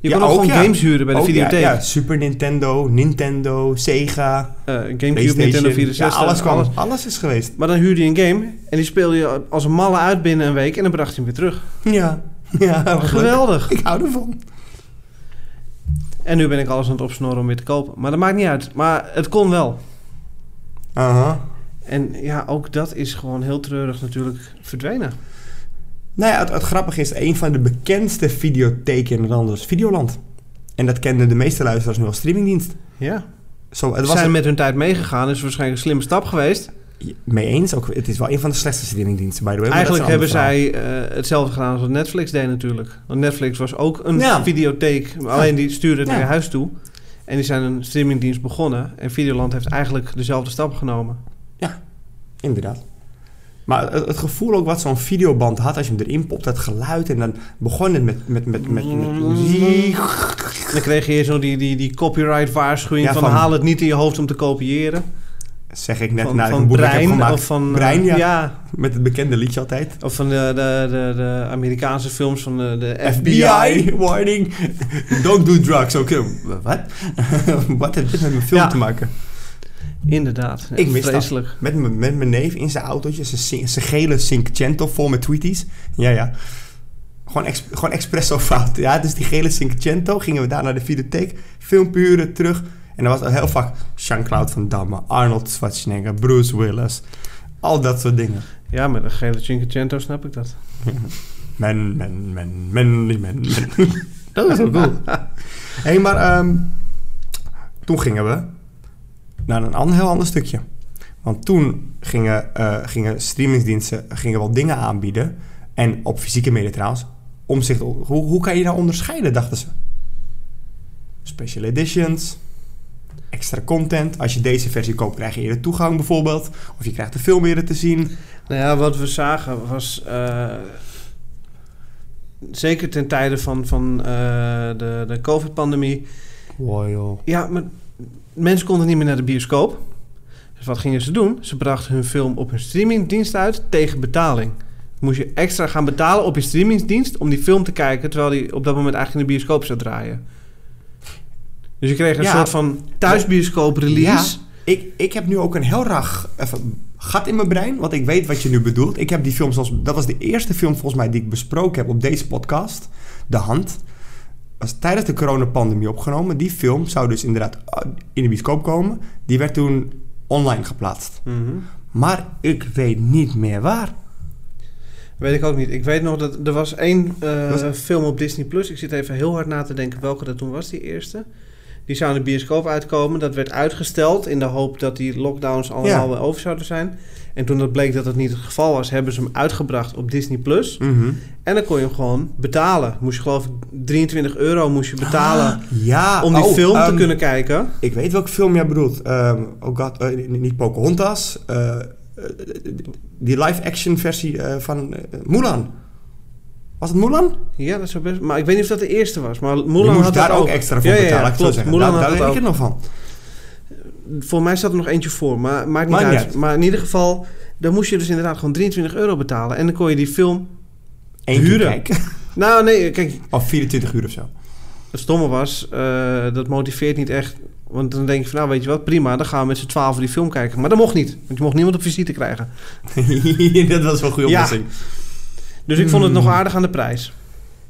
[SPEAKER 2] Je
[SPEAKER 1] Ja,
[SPEAKER 2] kon ook
[SPEAKER 1] ook,
[SPEAKER 2] gewoon
[SPEAKER 1] ja.
[SPEAKER 2] games huren bij de
[SPEAKER 1] Ook, Oh, ja,
[SPEAKER 2] videotheek.
[SPEAKER 1] Ja, Super Nintendo, Nintendo, Sega,
[SPEAKER 2] Eh, Gamecube,
[SPEAKER 1] PlayStation.
[SPEAKER 2] Nintendo 64.
[SPEAKER 1] ja, alles, kwam, alles. is geweest. (laughs)
[SPEAKER 2] Maar dan huurde je een game en die speelde je als een malle uit binnen een week en dan bracht je hem weer terug.
[SPEAKER 1] Ja, ja wat leuk.
[SPEAKER 2] Geweldig.
[SPEAKER 1] Ik hou ervan.
[SPEAKER 2] En nu ben ik alles aan het opsnoren om weer te kopen. Maar dat maakt niet uit. Maar het kon wel.
[SPEAKER 1] Aha.
[SPEAKER 2] En ja, ook dat is gewoon heel treurig natuurlijk verdwenen.
[SPEAKER 1] Nou ja, het, het grappige is, een van de bekendste videotheken in het land was Videoland. En dat kenden de meeste luisteraars nu als streamingdienst.
[SPEAKER 2] Ja.
[SPEAKER 1] Zo, het
[SPEAKER 2] Ze
[SPEAKER 1] was
[SPEAKER 2] zijn
[SPEAKER 1] het
[SPEAKER 2] met hun tijd meegegaan. is waarschijnlijk een slimme stap geweest.
[SPEAKER 1] mee eens. Ook, het is wel een van de slechtste streamingdiensten, by the way. maar dat is
[SPEAKER 2] Eigenlijk
[SPEAKER 1] een
[SPEAKER 2] hebben
[SPEAKER 1] ander verhaal.
[SPEAKER 2] zij eh, hetzelfde gedaan als wat Netflix deed natuurlijk. Want Netflix was ook een
[SPEAKER 1] Ja.
[SPEAKER 2] videotheek. Alleen die stuurde het
[SPEAKER 1] Ja.
[SPEAKER 2] naar je huis toe. En die zijn een streamingdienst begonnen. En Videoland heeft eigenlijk dezelfde stap genomen.
[SPEAKER 1] Inderdaad. Maar het, het gevoel ook wat zo'n videoband had, als je hem erin popt, dat geluid. En dan begon het met, met, met, met, met muziek.
[SPEAKER 2] Dan kreeg je eerst nog die, die, die copyright waarschuwing
[SPEAKER 1] Ja,
[SPEAKER 2] van,
[SPEAKER 1] van-
[SPEAKER 2] haal het niet in je hoofd om te kopiëren.
[SPEAKER 1] Zeg ik net
[SPEAKER 2] van
[SPEAKER 1] naar
[SPEAKER 2] van
[SPEAKER 1] een boek dat ik heb
[SPEAKER 2] Brein
[SPEAKER 1] gemaakt.
[SPEAKER 2] of van... eh,
[SPEAKER 1] Brein, ja.
[SPEAKER 2] ja.
[SPEAKER 1] Met het bekende liedje altijd.
[SPEAKER 2] Of van de, de, de, de Amerikaanse films van de, de FBI.
[SPEAKER 1] FBI, warning, (laughs) don't do drugs. Oké, wat? (laughs) wat heeft dit met mijn film
[SPEAKER 2] Ja.
[SPEAKER 1] te maken?
[SPEAKER 2] Inderdaad. Ja,
[SPEAKER 1] Ik mis dat.
[SPEAKER 2] Vreselijk.
[SPEAKER 1] Met, mijn- met mijn neef in zijn autootje, zijn, sin- zijn gele Cinquecento vol met Tweeties. Ja, ja. Gewoon, ex, gewoon espresso fout. Ja, dus die gele Cinquecento gingen we daar naar de videotheek, filmpje huren, terug. En dan was al heel vaak Jean-Claude Van Damme, Arnold Schwarzenegger, Bruce Willis. Al dat soort dingen.
[SPEAKER 2] Ja, met een gele Cinquecento snap ik dat.
[SPEAKER 1] Men, men, men, men, men, men. dat is wel
[SPEAKER 2] (laughs)
[SPEAKER 1] cool.
[SPEAKER 2] Nou
[SPEAKER 1] Hé, hey, maar ehm, toen gingen we naar een ander, heel ander stukje. Want toen gingen, eh, gingen streamingsdiensten gingen wel dingen aanbieden. En op fysieke media trouwens. Omzicht, hoe, hoe kan je nou onderscheiden, dachten ze. Special editions, extra content. Als je deze versie koopt, krijg je eerder toegang bijvoorbeeld. Of je krijgt de film eerder te zien.
[SPEAKER 2] Nou ja, wat we zagen was. eh, zeker ten tijde van, van eh, de, de COVID-pandemie.
[SPEAKER 1] Royal.
[SPEAKER 2] Ja, maar mensen konden niet meer naar de bioscoop. Dus wat gingen ze doen? Ze brachten hun film op hun streamingdienst uit tegen betaling. Moest je extra gaan betalen op je streamingsdienst om die film te kijken, terwijl die op dat moment eigenlijk in de bioscoop zou draaien. Dus je kreeg een
[SPEAKER 1] Ja.
[SPEAKER 2] soort van thuisbioscoop-release.
[SPEAKER 1] Ik, ik heb nu ook een heel raar g- even gat in mijn brein, want ik weet wat je nu bedoelt. Ik heb die film, zoals, dat was de eerste film volgens mij die ik besproken heb op deze podcast, De Hand. Was tijdens de coronapandemie opgenomen. Die film zou dus inderdaad uh, in de bioscoop komen. Die werd toen online geplaatst.
[SPEAKER 2] Mhm.
[SPEAKER 1] Maar ik weet niet meer waar.
[SPEAKER 2] Weet ik ook niet. Ik weet nog dat er was één eh,
[SPEAKER 1] Was-
[SPEAKER 2] film op Disney Plus. Ik zit even heel hard na te denken welke dat toen was, die eerste. Die zou in de bioscoop uitkomen. Dat werd uitgesteld in de hoop dat die lockdowns allemaal
[SPEAKER 1] Ja.
[SPEAKER 2] weer over zouden zijn. En toen dat bleek dat dat niet het geval was, hebben ze hem uitgebracht op Disney
[SPEAKER 1] Mm.
[SPEAKER 2] Plus. En dan kon je hem gewoon betalen. Moest je geloof ik 23 euro moest je betalen
[SPEAKER 1] Ja,
[SPEAKER 2] Ah, om die
[SPEAKER 1] oh,
[SPEAKER 2] film te
[SPEAKER 1] ehm,
[SPEAKER 2] kunnen kijken.
[SPEAKER 1] Ik weet welke film jij bedoelt. Ehm, oh god, eh, n- niet Pocahontas. eh, eh, die live-action versie eh, van eh, Mulan. Was het Mulan?
[SPEAKER 2] Ja, dat zou best... Maar ik weet niet of dat de eerste was. Maar
[SPEAKER 1] je
[SPEAKER 2] Mulan
[SPEAKER 1] moest
[SPEAKER 2] had
[SPEAKER 1] daar
[SPEAKER 2] dat
[SPEAKER 1] ook extra voor
[SPEAKER 2] Ja, ja, ja,
[SPEAKER 1] betalen. ik zou
[SPEAKER 2] klopt.
[SPEAKER 1] zeggen.
[SPEAKER 2] Mulan
[SPEAKER 1] daar
[SPEAKER 2] had
[SPEAKER 1] daar weet
[SPEAKER 2] dat
[SPEAKER 1] ik het nog van.
[SPEAKER 2] Voor mij staat er nog eentje voor, maar maakt niet
[SPEAKER 1] Maakt
[SPEAKER 2] uit.
[SPEAKER 1] niet uit.
[SPEAKER 2] Maar in ieder geval, dan moest je dus inderdaad gewoon 23 euro betalen. En dan kon je die film...
[SPEAKER 1] Eén keer
[SPEAKER 2] Huren.
[SPEAKER 1] kijken.
[SPEAKER 2] Nou nee, kijk,
[SPEAKER 1] Of 24 uur of
[SPEAKER 2] (laughs)
[SPEAKER 1] zo.
[SPEAKER 2] het stomme was, eh, dat motiveert niet echt. Want dan denk je van, nou weet je wat, prima, dan gaan we met z'n twaalf die film kijken. Maar dat mocht niet, want je mocht niemand op visite krijgen.
[SPEAKER 1] dat was wel een goede
[SPEAKER 2] Ja.
[SPEAKER 1] oplossing.
[SPEAKER 2] Dus ik vond het
[SPEAKER 1] Hmm.
[SPEAKER 2] nog aardig aan de prijs.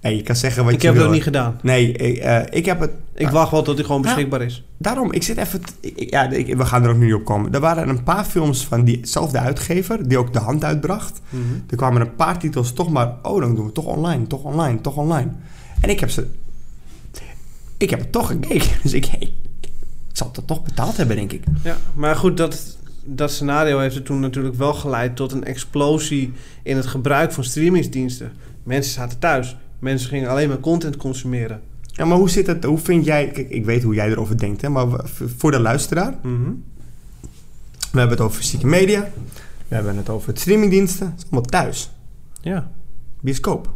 [SPEAKER 1] Nee, je kan zeggen wat
[SPEAKER 2] ik
[SPEAKER 1] je
[SPEAKER 2] heb
[SPEAKER 1] wil.
[SPEAKER 2] dat niet gedaan.
[SPEAKER 1] Nee, ik, eh, ik heb het...
[SPEAKER 2] Ik
[SPEAKER 1] Ah.
[SPEAKER 2] wacht wel tot hij gewoon
[SPEAKER 1] Ja.
[SPEAKER 2] beschikbaar is.
[SPEAKER 1] Daarom, ik zit even... t- ik- ik- ja, ik- we gaan er ook nu niet op komen. Er waren een paar films van diezelfde uitgever... die ook de hand uitbracht. Er kwamen een paar titels toch maar... Oh, dan doen we het toch online, toch online, toch online. En ik heb ze... Ik heb het toch gekeken. (laughs) Dus ik... ik ik zal het toch betaald hebben, denk ik.
[SPEAKER 2] Ja, maar goed, dat, dat scenario heeft er toen natuurlijk wel geleid tot een explosie in het gebruik van streamingsdiensten. Mensen zaten thuis. Mensen gingen alleen maar content consumeren.
[SPEAKER 1] Ja, maar hoe zit het? Hoe vind jij... Kijk, ik weet hoe jij erover denkt, hè. Maar w- voor de luisteraar... We hebben het over fysieke media. We hebben het over het streamingdiensten. Het is allemaal thuis.
[SPEAKER 2] Ja.
[SPEAKER 1] Bioscoop.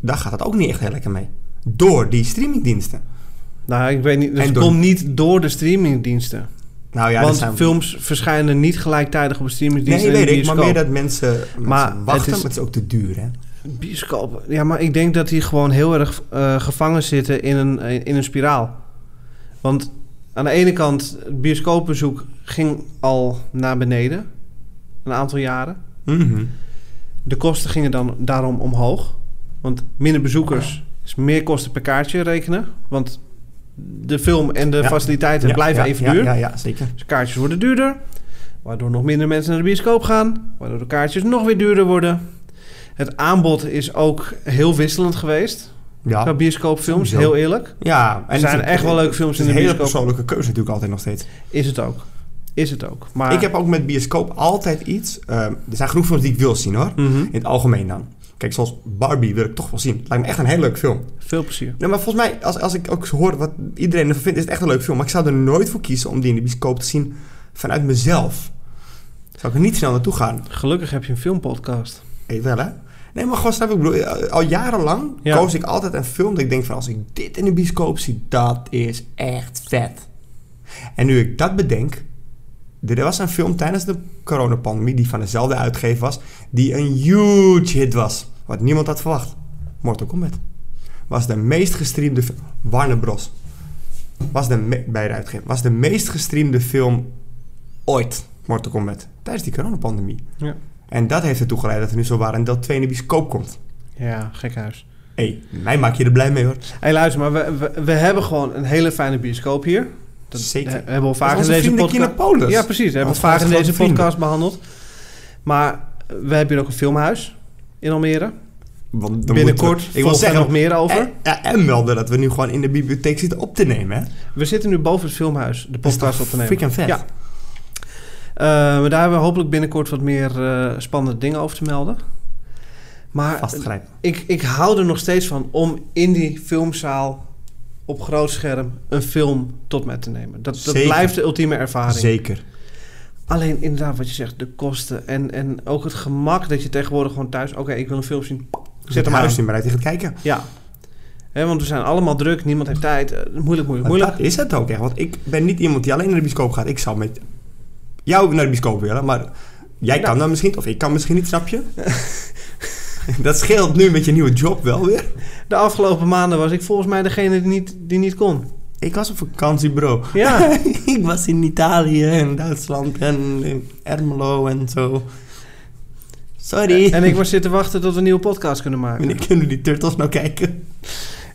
[SPEAKER 1] Daar gaat het ook niet echt heel lekker mee. Door die streamingdiensten.
[SPEAKER 2] Nou, ik weet niet.
[SPEAKER 1] En
[SPEAKER 2] Dat
[SPEAKER 1] door-
[SPEAKER 2] komt niet door de streamingdiensten.
[SPEAKER 1] Nou ja,
[SPEAKER 2] want
[SPEAKER 1] er zijn
[SPEAKER 2] films verschijnen niet gelijktijdig op
[SPEAKER 1] Nee,
[SPEAKER 2] streamingdiensten.
[SPEAKER 1] weet ik.
[SPEAKER 2] en
[SPEAKER 1] Maar
[SPEAKER 2] bioscoop.
[SPEAKER 1] meer dat mensen, mensen
[SPEAKER 2] Maar het
[SPEAKER 1] wachten. maar
[SPEAKER 2] is-
[SPEAKER 1] het is ook te duur, hè?
[SPEAKER 2] Bioscoop. Ja, maar ik denk dat die gewoon heel erg eh, gevangen zitten in een, eh, in een spiraal. Want aan de ene kant, het bioscoopbezoek ging al naar beneden. Een aantal jaren.
[SPEAKER 1] Mhm.
[SPEAKER 2] De kosten gingen dan daarom omhoog. Want minder bezoekers is meer kosten per kaartje rekenen. Want de film en de
[SPEAKER 1] Ja.
[SPEAKER 2] faciliteiten
[SPEAKER 1] Ja,
[SPEAKER 2] blijven
[SPEAKER 1] ja,
[SPEAKER 2] even
[SPEAKER 1] ja,
[SPEAKER 2] duur.
[SPEAKER 1] Ja, ja, zeker.
[SPEAKER 2] Dus kaartjes worden duurder. Waardoor nog minder mensen naar de bioscoop gaan. Waardoor de kaartjes nog weer duurder worden. Het aanbod is ook heel wisselend geweest. Qua
[SPEAKER 1] Ja.
[SPEAKER 2] bioscoopfilms,
[SPEAKER 1] Sowieso.
[SPEAKER 2] heel eerlijk.
[SPEAKER 1] ja eh,
[SPEAKER 2] Er zijn echt wel leuke films in de
[SPEAKER 1] een hele
[SPEAKER 2] bioscoop.
[SPEAKER 1] persoonlijke keuze natuurlijk altijd nog steeds.
[SPEAKER 2] Is het ook. Is het ook. Maar,
[SPEAKER 1] Ik heb ook met bioscoop altijd iets... ehm, er zijn genoeg films die ik wil zien, hoor.
[SPEAKER 2] Mhm.
[SPEAKER 1] In het algemeen dan. Kijk, zoals Barbie wil ik toch wel zien. Het lijkt me echt een heel leuk film.
[SPEAKER 2] Veel plezier.
[SPEAKER 1] Nee, maar volgens mij, als, als ik ook hoor wat iedereen ervan vindt, is het echt een leuk film. Maar ik zou er nooit voor kiezen om die in de bioscoop te zien vanuit mezelf. Zou ik er niet snel naartoe gaan.
[SPEAKER 2] Gelukkig heb je een filmpodcast.
[SPEAKER 1] Weet Eh, wel, hè? Nee, maar gewoon snap ik, ik bedoel, eh, al jarenlang
[SPEAKER 2] Ja.
[SPEAKER 1] koos ik altijd een film dat ik denk van, als ik dit in de bioscoop zie, dat is echt vet. En nu ik dat bedenk, er was een film tijdens de coronapandemie die van dezelfde uitgever was, die een huge hit was, wat niemand had verwacht. Mortal Kombat. Was de meest gestreamde film, Warner Bros. Was de, me- bij de uitgever, was de meest gestreamde film ooit, Mortal Kombat, tijdens die coronapandemie.
[SPEAKER 2] Ja.
[SPEAKER 1] En dat heeft ertoe geleid dat er nu zo waar een deel 2 in de bioscoop komt.
[SPEAKER 2] Ja, gek huis.
[SPEAKER 1] Hé, hey, mij maak je er blij mee hoor.
[SPEAKER 2] Hé, luister, maar we, we, we hebben gewoon een hele fijne bioscoop hier. Dat
[SPEAKER 1] Zeker.
[SPEAKER 2] he- hebben we al vaak
[SPEAKER 1] Dat
[SPEAKER 2] in
[SPEAKER 1] is
[SPEAKER 2] deze
[SPEAKER 1] onze vrienden
[SPEAKER 2] podcast.
[SPEAKER 1] Kinopolis.
[SPEAKER 2] Ja, precies. Dat hebben
[SPEAKER 1] Onze
[SPEAKER 2] we vaak in
[SPEAKER 1] grote
[SPEAKER 2] deze
[SPEAKER 1] vrienden.
[SPEAKER 2] podcast behandeld. Maar eh, we hebben hier ook een filmhuis in Almere.
[SPEAKER 1] Want dan
[SPEAKER 2] Binnenkort
[SPEAKER 1] moeten we-
[SPEAKER 2] ik wil zeggen, nog meer over.
[SPEAKER 1] En, eh, ja, en melden dat we nu gewoon in de bibliotheek zitten op te nemen. Hè?
[SPEAKER 2] We zitten nu boven het filmhuis de podcast op te nemen.
[SPEAKER 1] Freaking vet.
[SPEAKER 2] Ja. Eh, maar daar hebben we hopelijk binnenkort wat meer eh, spannende dingen over te melden. Maar
[SPEAKER 1] Vastgrijpen.
[SPEAKER 2] ik, ik hou er nog steeds van om in die filmzaal op groot scherm een film tot mij te nemen. Dat, dat
[SPEAKER 1] Zeker.
[SPEAKER 2] blijft de ultieme ervaring.
[SPEAKER 1] Zeker.
[SPEAKER 2] Alleen inderdaad, wat je zegt, de kosten en, en ook het gemak dat je tegenwoordig gewoon thuis... Oké, ik wil een film zien. Zet
[SPEAKER 1] Zet
[SPEAKER 2] hem
[SPEAKER 1] maar
[SPEAKER 2] aan.
[SPEAKER 1] huis in bereid, je gaat kijken.
[SPEAKER 2] Ja. Hè, want we zijn allemaal druk, niemand heeft tijd. eh, moeilijk, moeilijk,
[SPEAKER 1] Maar
[SPEAKER 2] moeilijk.
[SPEAKER 1] dat is het ook echt. Want ik ben niet iemand die alleen naar de bioscoop gaat. Ik zou met jou naar de bioscoop willen. Maar jij
[SPEAKER 2] Nou.
[SPEAKER 1] kan dan misschien, of ik kan misschien niet, snap je? (laughs) dat scheelt nu met je nieuwe job wel weer.
[SPEAKER 2] De afgelopen maanden was ik volgens mij degene die niet, die niet
[SPEAKER 1] (laughs)
[SPEAKER 2] kon.
[SPEAKER 1] Ik was op vakantie, bro.
[SPEAKER 2] Ja.
[SPEAKER 1] ik was in Italië en Duitsland en in Ermelo en zo. Sorry.
[SPEAKER 2] en ik was zitten wachten tot we een nieuwe podcast kunnen maken.
[SPEAKER 1] Wanneer kunnen die turtles nou kijken?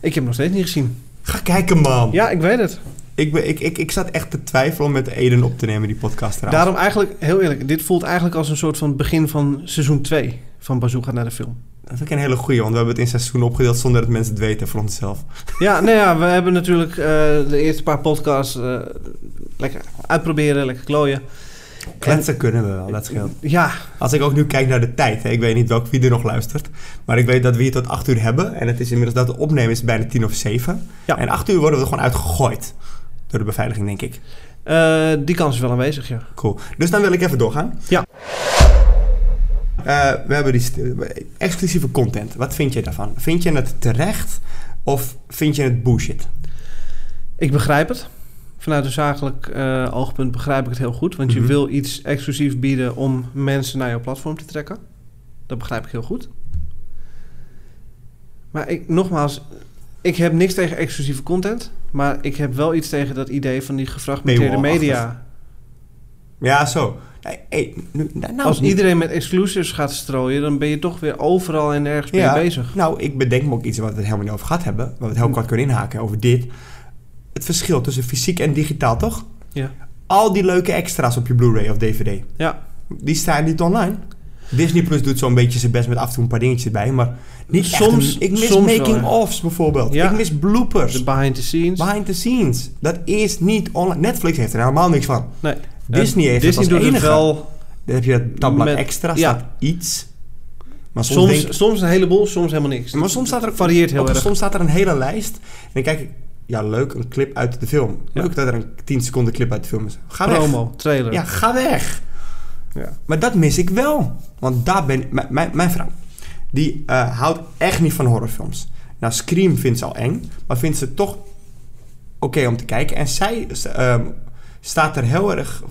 [SPEAKER 2] Ik heb hem nog steeds niet gezien.
[SPEAKER 1] Ga kijken, man.
[SPEAKER 2] Ja, ik weet het.
[SPEAKER 1] Ik, ben, ik, ik, ik zat echt te twijfelen om met Eden op te nemen, die podcast trouwens.
[SPEAKER 2] Daarom eigenlijk, heel eerlijk, dit voelt eigenlijk als een soort van begin van seizoen 2 van Bazooka naar de film.
[SPEAKER 1] Dat vind ik een hele goeie, want we hebben het in seizoenen opgedeeld zonder dat mensen het weten voor onszelf.
[SPEAKER 2] Ja, nou ja, we hebben natuurlijk eh, de eerste paar podcasts eh, lekker uitproberen, lekker klooien.
[SPEAKER 1] Kletsen kunnen we wel, dat scheelt.
[SPEAKER 2] Ja,
[SPEAKER 1] Als ik ook nu kijk naar de tijd, hè, ik weet niet welk wie er nog luistert. Maar ik weet dat we hier tot 8 uur hebben. En het is inmiddels dat de opnemen is bijna tien of zeven.
[SPEAKER 2] Ja.
[SPEAKER 1] En 8 uur worden we er gewoon uitgegooid. Door de beveiliging, denk ik.
[SPEAKER 2] eh, die kans is wel aanwezig, ja.
[SPEAKER 1] Cool. Dus dan wil ik even doorgaan.
[SPEAKER 2] Ja.
[SPEAKER 1] Eh, we hebben die st- eh, exclusieve content. Wat vind je daarvan? Vind je het terecht of vind je het bullshit?
[SPEAKER 2] Ik begrijp het. Vanuit een zakelijk eh, oogpunt begrijp ik het heel goed. Want
[SPEAKER 1] Mhm.
[SPEAKER 2] je wil iets exclusief bieden om mensen naar jouw platform te trekken. Dat begrijp ik heel goed. Maar ik, nogmaals, ik heb niks tegen exclusieve content. Maar ik heb wel iets tegen dat idee van die gefragmenteerde
[SPEAKER 1] Paywall-achtig.
[SPEAKER 2] media.
[SPEAKER 1] Ja, zo. Nee, hey, nu- nou, nou,
[SPEAKER 2] Als iedereen met exclusives gaat strooien, dan ben je toch weer overal en ergens mee
[SPEAKER 1] Ja.
[SPEAKER 2] bezig.
[SPEAKER 1] Nou, ik bedenk me ook iets waar we het helemaal niet over gehad hebben. Waar we het
[SPEAKER 2] Hm.
[SPEAKER 1] heel kort kunnen inhaken over dit. Het verschil tussen fysiek en digitaal, toch?
[SPEAKER 2] Ja.
[SPEAKER 1] Al die leuke extra's op je Blu-ray of DVD.
[SPEAKER 2] Ja.
[SPEAKER 1] Die staan niet online. Disney Plus doet zo'n beetje zijn best met af en toe een paar dingetjes erbij. Maar niet echt
[SPEAKER 2] Soms-
[SPEAKER 1] een- ik mis
[SPEAKER 2] soms wel,
[SPEAKER 1] making-ofs bijvoorbeeld.
[SPEAKER 2] Ja.
[SPEAKER 1] Ik mis bloopers.
[SPEAKER 2] De behind the scenes.
[SPEAKER 1] Behind the scenes. Dat is niet online. Netflix heeft er helemaal niks van.
[SPEAKER 2] Nee. Eh,
[SPEAKER 1] Disney heeft
[SPEAKER 2] Disney
[SPEAKER 1] het als
[SPEAKER 2] doet
[SPEAKER 1] enige.
[SPEAKER 2] het wel
[SPEAKER 1] Dan heb je dat tabblad
[SPEAKER 2] Met-
[SPEAKER 1] extra,
[SPEAKER 2] ja.
[SPEAKER 1] staat iets. Maar soms,
[SPEAKER 2] Soms,
[SPEAKER 1] denk ik-
[SPEAKER 2] soms een heleboel, soms helemaal niks.
[SPEAKER 1] maar soms staat er ook,
[SPEAKER 2] varieert heel
[SPEAKER 1] ook-
[SPEAKER 2] erg.
[SPEAKER 1] Soms staat er een hele lijst. En dan kijk ik, ja leuk, een clip uit de film.
[SPEAKER 2] Ja.
[SPEAKER 1] Leuk dat er een 10 seconden clip uit de film is. Ga weg.
[SPEAKER 2] Promo, trailer.
[SPEAKER 1] Ja, ga weg.
[SPEAKER 2] Ja.
[SPEAKER 1] Maar dat mis ik wel. Want daar ben mijn- mijn, mijn vrouw, die eh, houdt echt niet van horrorfilms. Nou, Scream vindt ze al eng, maar vindt ze toch oké om te kijken. En zij ehm, staat er heel erg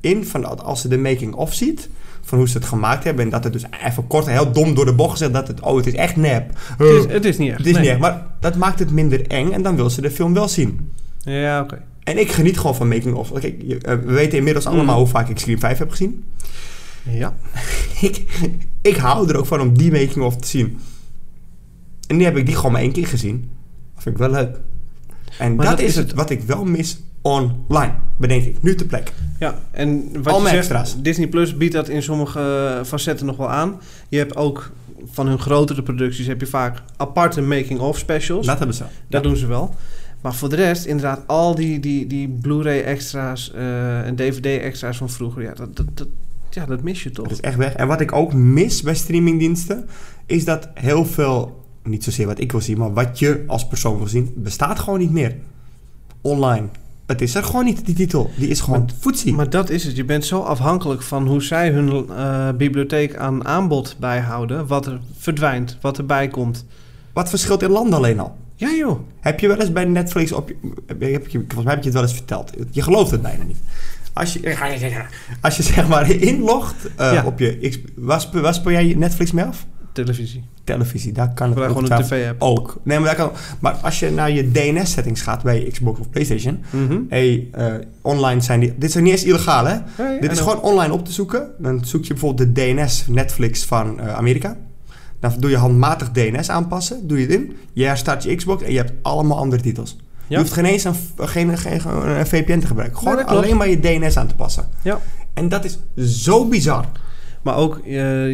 [SPEAKER 1] in van dat als ze de making-of ziet, van hoe ze het gemaakt hebben. En dat het dus even kort, heel dom door de bocht gezegd dat het, oh, het is echt nep.
[SPEAKER 2] Het, is,
[SPEAKER 1] Eh,
[SPEAKER 2] het is niet echt.
[SPEAKER 1] het is
[SPEAKER 2] nee.
[SPEAKER 1] niet echt. Maar dat maakt het minder eng en dan wil ze de film wel zien.
[SPEAKER 2] Ja, oké.
[SPEAKER 1] En ik geniet gewoon van making of. Kijk, je- eh, we weten inmiddels allemaal
[SPEAKER 2] Mm.
[SPEAKER 1] hoe vaak ik Scream 5 heb gezien. (laughs)
[SPEAKER 2] Ja.
[SPEAKER 1] ik, ik hou er ook van om die making of te zien. En nu heb ik die gewoon maar één keer gezien. Dat vind ik wel leuk. En
[SPEAKER 2] Maar
[SPEAKER 1] dat,
[SPEAKER 2] dat
[SPEAKER 1] is
[SPEAKER 2] is
[SPEAKER 1] het
[SPEAKER 2] het.
[SPEAKER 1] wat ik wel mis online, bedenk ik. Nu ter plekke.
[SPEAKER 2] ja. En wat
[SPEAKER 1] Al
[SPEAKER 2] je
[SPEAKER 1] mijn
[SPEAKER 2] zegt,
[SPEAKER 1] extra's.
[SPEAKER 2] Disney Plus biedt dat in sommige eh, facetten nog wel aan. Je hebt ook van hun grotere producties heb je vaak aparte making-of specials.
[SPEAKER 1] Dat hebben ze.
[SPEAKER 2] Dat doen ze wel. Maar voor de rest, inderdaad, al die, die, die Blu-ray extra's eh, en DVD extra's van vroeger, ja dat, dat, dat, ja, dat mis je toch?
[SPEAKER 1] Dat is echt weg. En wat ik ook mis bij streamingdiensten, is dat heel veel, niet zozeer wat ik wil zien, maar wat je als persoon wil zien, bestaat gewoon niet meer. Online. Het is er gewoon niet, die titel. Die is gewoon voetsie.
[SPEAKER 2] Maar dat is het. Je bent zo afhankelijk van hoe zij hun eh, bibliotheek aan aanbod bijhouden. Wat er verdwijnt, wat erbij komt.
[SPEAKER 1] Wat verschilt in landen alleen al?
[SPEAKER 2] Ja joh.
[SPEAKER 1] Heb je wel eens bij Netflix op je, heb je, volgens mij heb je het wel eens verteld. Je gelooft het bijna niet. Als je, als je zeg maar (laughs) inlogt eh,
[SPEAKER 2] Ja.
[SPEAKER 1] op je... X- Waar speel, waar speel jij je Netflix mee af?
[SPEAKER 2] Televisie.
[SPEAKER 1] Televisie, daar kan
[SPEAKER 2] Ik
[SPEAKER 1] het
[SPEAKER 2] gebruik
[SPEAKER 1] ook
[SPEAKER 2] gewoon een
[SPEAKER 1] twijfel-
[SPEAKER 2] tv-app.
[SPEAKER 1] Ook. Nee, maar, daar kan, maar als je naar je DNS-settings gaat bij je Xbox of PlayStation...
[SPEAKER 2] Mhm.
[SPEAKER 1] Hey, eh, online zijn die... Dit zijn niet eens illegaal, hè? Dit is gewoon online op te zoeken. Dan zoek je bijvoorbeeld de DNS Netflix van eh, Amerika. Dan doe je handmatig DNS aanpassen. Doe je het in. Je herstart je Xbox en je hebt allemaal andere titels. Je
[SPEAKER 2] Ja.
[SPEAKER 1] hoeft geen eens een, v- geen, geen, geen- een VPN te gebruiken. Gewoon
[SPEAKER 2] Nee, dat klopt.
[SPEAKER 1] alleen maar je DNS aan te passen.
[SPEAKER 2] Ja.
[SPEAKER 1] En dat is zo bizar.
[SPEAKER 2] Maar ook, eh,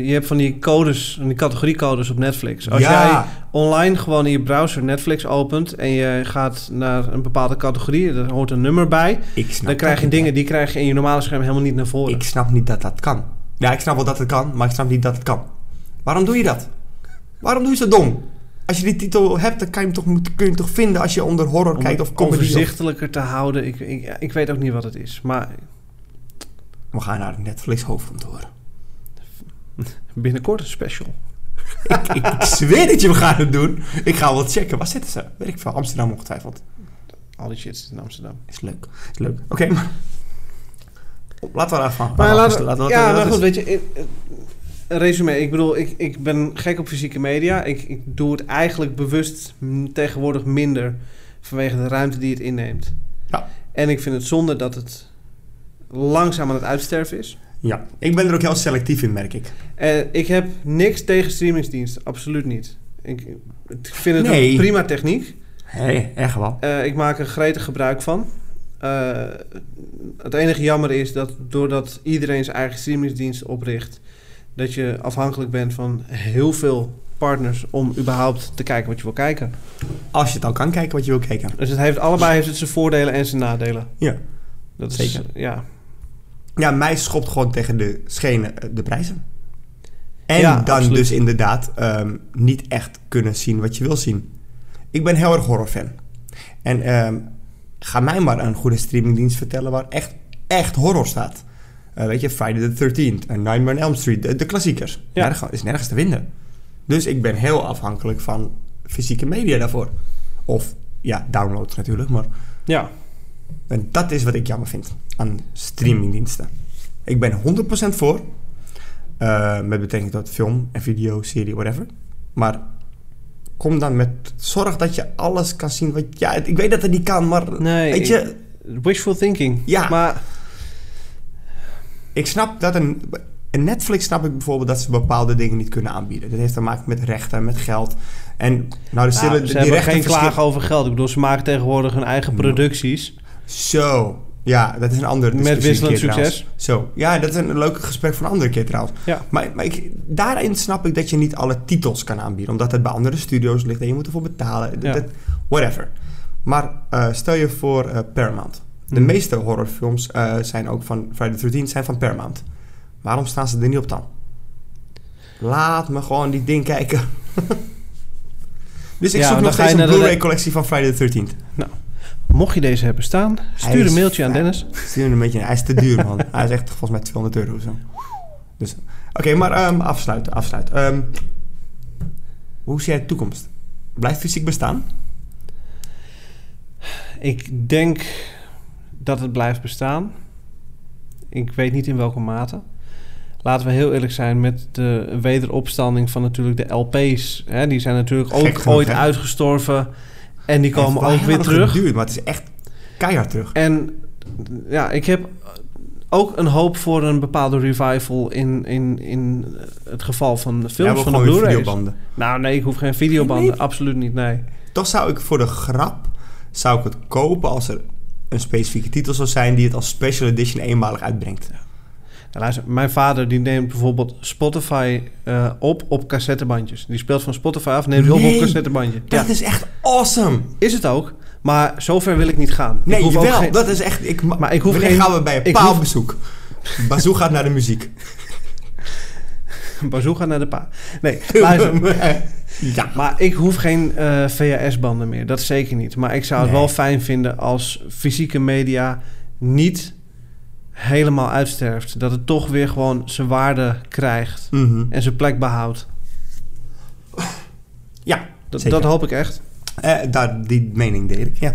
[SPEAKER 2] je hebt van die codes, van die categoriecodes op Netflix. Als jij
[SPEAKER 1] ja,
[SPEAKER 2] online gewoon in je browser Netflix opent en je gaat naar een bepaalde categorie, daar hoort een nummer bij,
[SPEAKER 1] ik snap
[SPEAKER 2] dan krijg je
[SPEAKER 1] dat Nou, niet.
[SPEAKER 2] dingen die krijg je in je normale scherm helemaal niet naar voren.
[SPEAKER 1] Ik snap niet dat dat kan. Ja, ik snap wel dat het kan, maar ik snap niet dat het kan. Waarom doe je dat? Waarom doe je zo dom? Als je die titel hebt, dan kan je hem toch, moet- kun je hem toch vinden als je onder horror
[SPEAKER 2] Om
[SPEAKER 1] kijkt
[SPEAKER 2] het
[SPEAKER 1] of comedy. of-
[SPEAKER 2] overzichtelijker te houden. Ik, ik, ik weet ook niet wat het is. Maar
[SPEAKER 1] We gaan naar het Netflix hoofdkantoor.
[SPEAKER 2] binnenkort een special.
[SPEAKER 1] ik, ik, ik zweer dat je we gaan het doen. Ik ga wel checken. Waar zitten ze? Weet ik veel. Amsterdam ongetwijfeld.
[SPEAKER 2] Al die shit zit in Amsterdam.
[SPEAKER 1] Is leuk. Is leuk. Oké, maar... Laten we daarvan.
[SPEAKER 2] Maar laten we-
[SPEAKER 1] laten we-
[SPEAKER 2] ja,
[SPEAKER 1] laten we-
[SPEAKER 2] maar goed,
[SPEAKER 1] dus-
[SPEAKER 2] weet je, in- eh, een resume. Ik bedoel, ik, ik ben gek op fysieke media. Ik, ik doe het eigenlijk bewust mm, tegenwoordig minder vanwege de ruimte die het inneemt.
[SPEAKER 1] Ja.
[SPEAKER 2] En ik vind het zonde dat het langzaam aan het uitsterven is.
[SPEAKER 1] Ja, ik ben er ook heel selectief in, merk ik.
[SPEAKER 2] Eh, ik heb niks tegen streamingsdiensten, absoluut niet. Ik, ik vind het
[SPEAKER 1] Nee.
[SPEAKER 2] een prima techniek.
[SPEAKER 1] Hé, hey, echt wel.
[SPEAKER 2] Eh, ik maak er gretig gebruik van. Eh, het enige jammer is dat doordat iedereen zijn eigen streamingsdienst opricht, dat je afhankelijk bent van heel veel partners om überhaupt te kijken wat je wil kijken.
[SPEAKER 1] Als je het al kan kijken wat je wil kijken.
[SPEAKER 2] Dus het heeft allebei heeft het zijn voordelen en zijn nadelen.
[SPEAKER 1] Ja.
[SPEAKER 2] Dat is,
[SPEAKER 1] Zeker.
[SPEAKER 2] Ja.
[SPEAKER 1] Ja, mij schopt gewoon tegen de schenen eh, de prijzen. En
[SPEAKER 2] Ja,
[SPEAKER 1] dan
[SPEAKER 2] absoluut.
[SPEAKER 1] dus inderdaad ehm, niet echt kunnen zien wat je wil zien. Ik ben heel erg horrorfan. En ehm, ga mij maar een goede streamingdienst vertellen waar echt, echt horror staat. Eh, weet je, Friday the 13th en Nightmare on Elm Street, de, de klassiekers.
[SPEAKER 2] Ja.
[SPEAKER 1] Ja. is nergens te vinden. Dus ik ben heel afhankelijk van fysieke media daarvoor. Of, ja, downloads natuurlijk, maar
[SPEAKER 2] Ja.
[SPEAKER 1] en dat is wat ik jammer vind aan streamingdiensten. Ik ben 100% voor. eh, met betrekking tot film en video, serie, whatever. Maar kom dan met... Zorg dat je alles kan zien wat... Ja, ik weet dat het niet kan, maar...
[SPEAKER 2] Nee,
[SPEAKER 1] weet je,
[SPEAKER 2] Wishful thinking.
[SPEAKER 1] Ja.
[SPEAKER 2] Maar
[SPEAKER 1] ik snap dat een... In Netflix snap ik bijvoorbeeld dat ze bepaalde dingen niet kunnen aanbieden. Dat heeft te maken met rechten, met geld. En nou, de
[SPEAKER 2] nou,
[SPEAKER 1] zullen
[SPEAKER 2] ze
[SPEAKER 1] die
[SPEAKER 2] hebben
[SPEAKER 1] rechten
[SPEAKER 2] geen
[SPEAKER 1] verschillen-
[SPEAKER 2] klagen over geld. Ik bedoel, ze maken tegenwoordig hun eigen producties.
[SPEAKER 1] Zo. Ja, dat is een andere
[SPEAKER 2] Met
[SPEAKER 1] discussie een
[SPEAKER 2] wisselend
[SPEAKER 1] keer
[SPEAKER 2] succes.
[SPEAKER 1] trouwens. Zo. Ja, dat is een leuk gesprek voor een andere keer trouwens.
[SPEAKER 2] Ja.
[SPEAKER 1] Maar, maar ik, daarin snap ik dat je niet alle titels kan aanbieden. Omdat het bij andere studio's ligt en je moet ervoor betalen.
[SPEAKER 2] Ja.
[SPEAKER 1] Dat, dat- whatever. Maar eh, stel je voor eh, Paramount. De
[SPEAKER 2] Mhm.
[SPEAKER 1] meeste horrorfilms eh, zijn ook van Friday the 13th zijn van Paramount. Waarom staan ze er niet op dan? Laat me gewoon die ding kijken. (laughs) dus ik
[SPEAKER 2] Ja,
[SPEAKER 1] zoek
[SPEAKER 2] dan
[SPEAKER 1] nog
[SPEAKER 2] ga je
[SPEAKER 1] steeds een
[SPEAKER 2] naar de-
[SPEAKER 1] Blu-ray collectie van Friday the 13th.
[SPEAKER 2] Mocht je deze hebben staan, stuur
[SPEAKER 1] is
[SPEAKER 2] een mailtje aan
[SPEAKER 1] vrij.
[SPEAKER 2] Dennis.
[SPEAKER 1] Stuur hem een beetje. Hij is te duur, man. Hij is echt volgens mij 200 euro of zo. Dus, oké, maar ehm, afsluiten, afsluiten. Ehm, hoe zie jij de toekomst? Blijft fysiek bestaan?
[SPEAKER 2] Ik denk dat het blijft bestaan. Ik weet niet in welke mate. Laten we heel eerlijk zijn met de wederopstanding van natuurlijk de LP's. Hè, die zijn natuurlijk ook
[SPEAKER 1] Gek genoeg,
[SPEAKER 2] ooit
[SPEAKER 1] hè?
[SPEAKER 2] uitgestorven. En die
[SPEAKER 1] Het
[SPEAKER 2] komen
[SPEAKER 1] heeft wel
[SPEAKER 2] ook
[SPEAKER 1] heel
[SPEAKER 2] weer
[SPEAKER 1] lang
[SPEAKER 2] terug.
[SPEAKER 1] Geduurd, maar het is echt keihard terug.
[SPEAKER 2] En ja, ik heb ook een hoop voor een bepaalde revival in, in, in het geval van films
[SPEAKER 1] Jij wil
[SPEAKER 2] van de
[SPEAKER 1] gewoon weer
[SPEAKER 2] Blu-rays.
[SPEAKER 1] videobanden.
[SPEAKER 2] Nou nee, ik hoef geen videobanden.
[SPEAKER 1] Nee.
[SPEAKER 2] Absoluut niet, nee.
[SPEAKER 1] Toch zou ik voor de grap zou ik het kopen als er een specifieke titel zou zijn die het als special edition eenmalig uitbrengt.
[SPEAKER 2] Ja, luister, mijn vader die neemt bijvoorbeeld Spotify eh, op op cassettebandjes. Die speelt van Spotify af, neemt die op op
[SPEAKER 1] Nee.
[SPEAKER 2] cassettebandje. Ja,
[SPEAKER 1] Dat is echt awesome.
[SPEAKER 2] is het ook, maar zover wil ik niet gaan. Ik
[SPEAKER 1] Nee,
[SPEAKER 2] hoef ook
[SPEAKER 1] wel.
[SPEAKER 2] geen-
[SPEAKER 1] Dat is echt. Ik, ma-
[SPEAKER 2] Maar ik hoef
[SPEAKER 1] Wanneer
[SPEAKER 2] geen-
[SPEAKER 1] gaan we bij een
[SPEAKER 2] ik
[SPEAKER 1] paal
[SPEAKER 2] hoef-
[SPEAKER 1] op bezoek. Bazoo gaat naar de
[SPEAKER 2] (laughs)
[SPEAKER 1] muziek.
[SPEAKER 2] (laughs) Bazooka naar de pa. Nee, luister.
[SPEAKER 1] (laughs) ja.
[SPEAKER 2] Maar ik hoef geen eh VHS-banden meer, dat zeker niet. Maar ik zou het
[SPEAKER 1] Nee.
[SPEAKER 2] wel fijn vinden als fysieke media niet helemaal uitsterft. Dat het toch weer gewoon zijn waarde krijgt
[SPEAKER 1] Mhm.
[SPEAKER 2] en zijn plek behoudt.
[SPEAKER 1] Ja,
[SPEAKER 2] Dat,
[SPEAKER 1] Zeker.
[SPEAKER 2] dat hoop ik echt.
[SPEAKER 1] eh, daar, die mening deel ik, ja.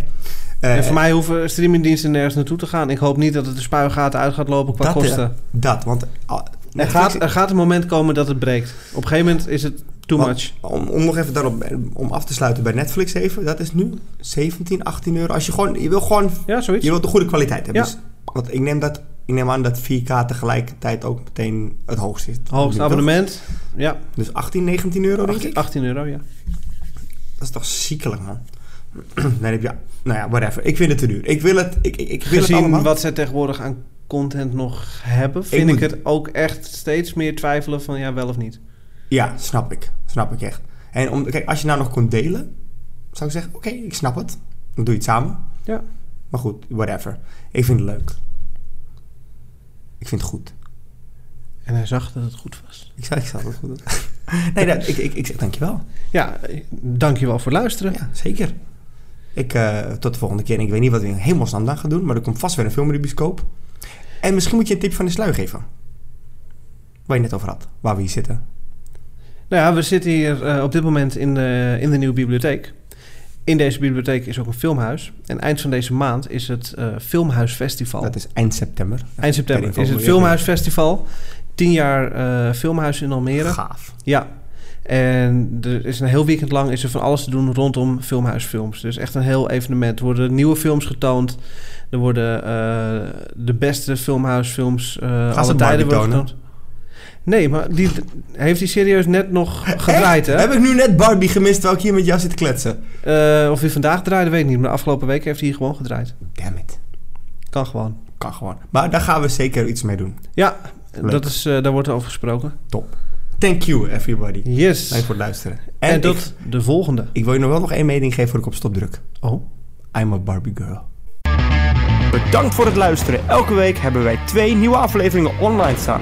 [SPEAKER 1] Eh,
[SPEAKER 2] en voor mij hoeven streamingdiensten nergens naartoe te gaan. Ik hoop niet dat het de spuigaten uit gaat lopen qua
[SPEAKER 1] Dat, eh,
[SPEAKER 2] kosten.
[SPEAKER 1] Dat, want... ah,
[SPEAKER 2] er,
[SPEAKER 1] Netflix-
[SPEAKER 2] gaat, er gaat een moment komen dat het breekt. Op een gegeven moment is het too
[SPEAKER 1] Want-
[SPEAKER 2] much.
[SPEAKER 1] om, om nog even daarop, eh, om af te sluiten bij Netflix even, dat is nu 17, 18 euro. Als je gewoon, je wil gewoon,
[SPEAKER 2] Ja, zoiets.
[SPEAKER 1] je wilt de goede kwaliteit hebben.
[SPEAKER 2] Ja.
[SPEAKER 1] Dus, want ik neem, dat, ik neem aan dat 4K tegelijkertijd ook meteen het hoogste is.
[SPEAKER 2] Hoogst
[SPEAKER 1] Nu,
[SPEAKER 2] abonnement. Ja,
[SPEAKER 1] toch? Dus 18, 19 euro denk ik.
[SPEAKER 2] 18 euro, ja.
[SPEAKER 1] Dat is toch ziekelijk man. (clears throat) nee, dan heb je, nou ja, whatever. Ik vind het te duur. Ik wil het, ik, ik, ik wil het
[SPEAKER 2] Gezien
[SPEAKER 1] allemaal.
[SPEAKER 2] wat zij tegenwoordig aan content nog hebben, vind ik,
[SPEAKER 1] moet-
[SPEAKER 2] het ook echt steeds meer twijfelen van ja, wel of niet.
[SPEAKER 1] Ja, snap ik. Snap ik echt. En om, kijk, als je nou nog kon delen, zou ik zeggen, oké, ik snap het. Dan doe je het samen.
[SPEAKER 2] Ja.
[SPEAKER 1] Maar goed, whatever. Ik vind het leuk. Ik vind het goed.
[SPEAKER 2] En hij zag dat het goed was.
[SPEAKER 1] Ik zei, ik zal het goed doen. (laughs) nee, dat, ik, ik, ik zeg dankjewel.
[SPEAKER 2] Ja, eh, dankjewel voor het luisteren.
[SPEAKER 1] Ja, zeker. Ik, eh, tot de volgende keer. En ik weet niet wat we in hemelsnaam dan gaan doen, maar er komt vast weer een film in de bioscoop. En misschien moet je een tip van de sluier geven. Waar je net over had, waar we hier zitten.
[SPEAKER 2] Nou ja, we zitten hier eh, op dit moment in de, in de nieuwe bibliotheek. In deze bibliotheek is ook een filmhuis. En eind van deze maand is het eh, Filmhuisfestival.
[SPEAKER 1] Dat is eind september.
[SPEAKER 2] eind september
[SPEAKER 1] Tijding
[SPEAKER 2] is
[SPEAKER 1] van
[SPEAKER 2] het
[SPEAKER 1] milieu.
[SPEAKER 2] Filmhuisfestival. Tien jaar eh, filmhuis in Almere.
[SPEAKER 1] Gaaf.
[SPEAKER 2] Ja. En er is een heel weekend lang is er van alles te doen rondom filmhuisfilms. Dus echt een heel evenement. Er worden nieuwe films getoond. Er worden eh, de beste filmhuisfilms eh alle
[SPEAKER 1] ze
[SPEAKER 2] tijden
[SPEAKER 1] Barbie
[SPEAKER 2] worden
[SPEAKER 1] tonen?
[SPEAKER 2] getoond. Nee, maar die heeft hij serieus net nog gedraaid,
[SPEAKER 1] Echt?
[SPEAKER 2] hè?
[SPEAKER 1] Heb ik nu net Barbie gemist terwijl ik hier met jou zit te kletsen?
[SPEAKER 2] Eh, of hij vandaag draaide, weet ik niet. Maar de afgelopen week heeft hij gewoon gedraaid.
[SPEAKER 1] Damn it.
[SPEAKER 2] Kan gewoon.
[SPEAKER 1] Kan gewoon. Maar daar gaan we zeker iets mee doen.
[SPEAKER 2] Ja,
[SPEAKER 1] Leuk.
[SPEAKER 2] dat is, eh, daar wordt over gesproken.
[SPEAKER 1] Thank you, everybody.
[SPEAKER 2] Yes.
[SPEAKER 1] Dank voor het luisteren.
[SPEAKER 2] en
[SPEAKER 1] En, ik-
[SPEAKER 2] tot de volgende.
[SPEAKER 1] ik wil je nog wel nog één mening geven voor ik op stop druk.
[SPEAKER 2] Oh.
[SPEAKER 1] I'm a Barbie girl.
[SPEAKER 3] Bedankt voor het luisteren. Elke week hebben wij twee nieuwe afleveringen online staan.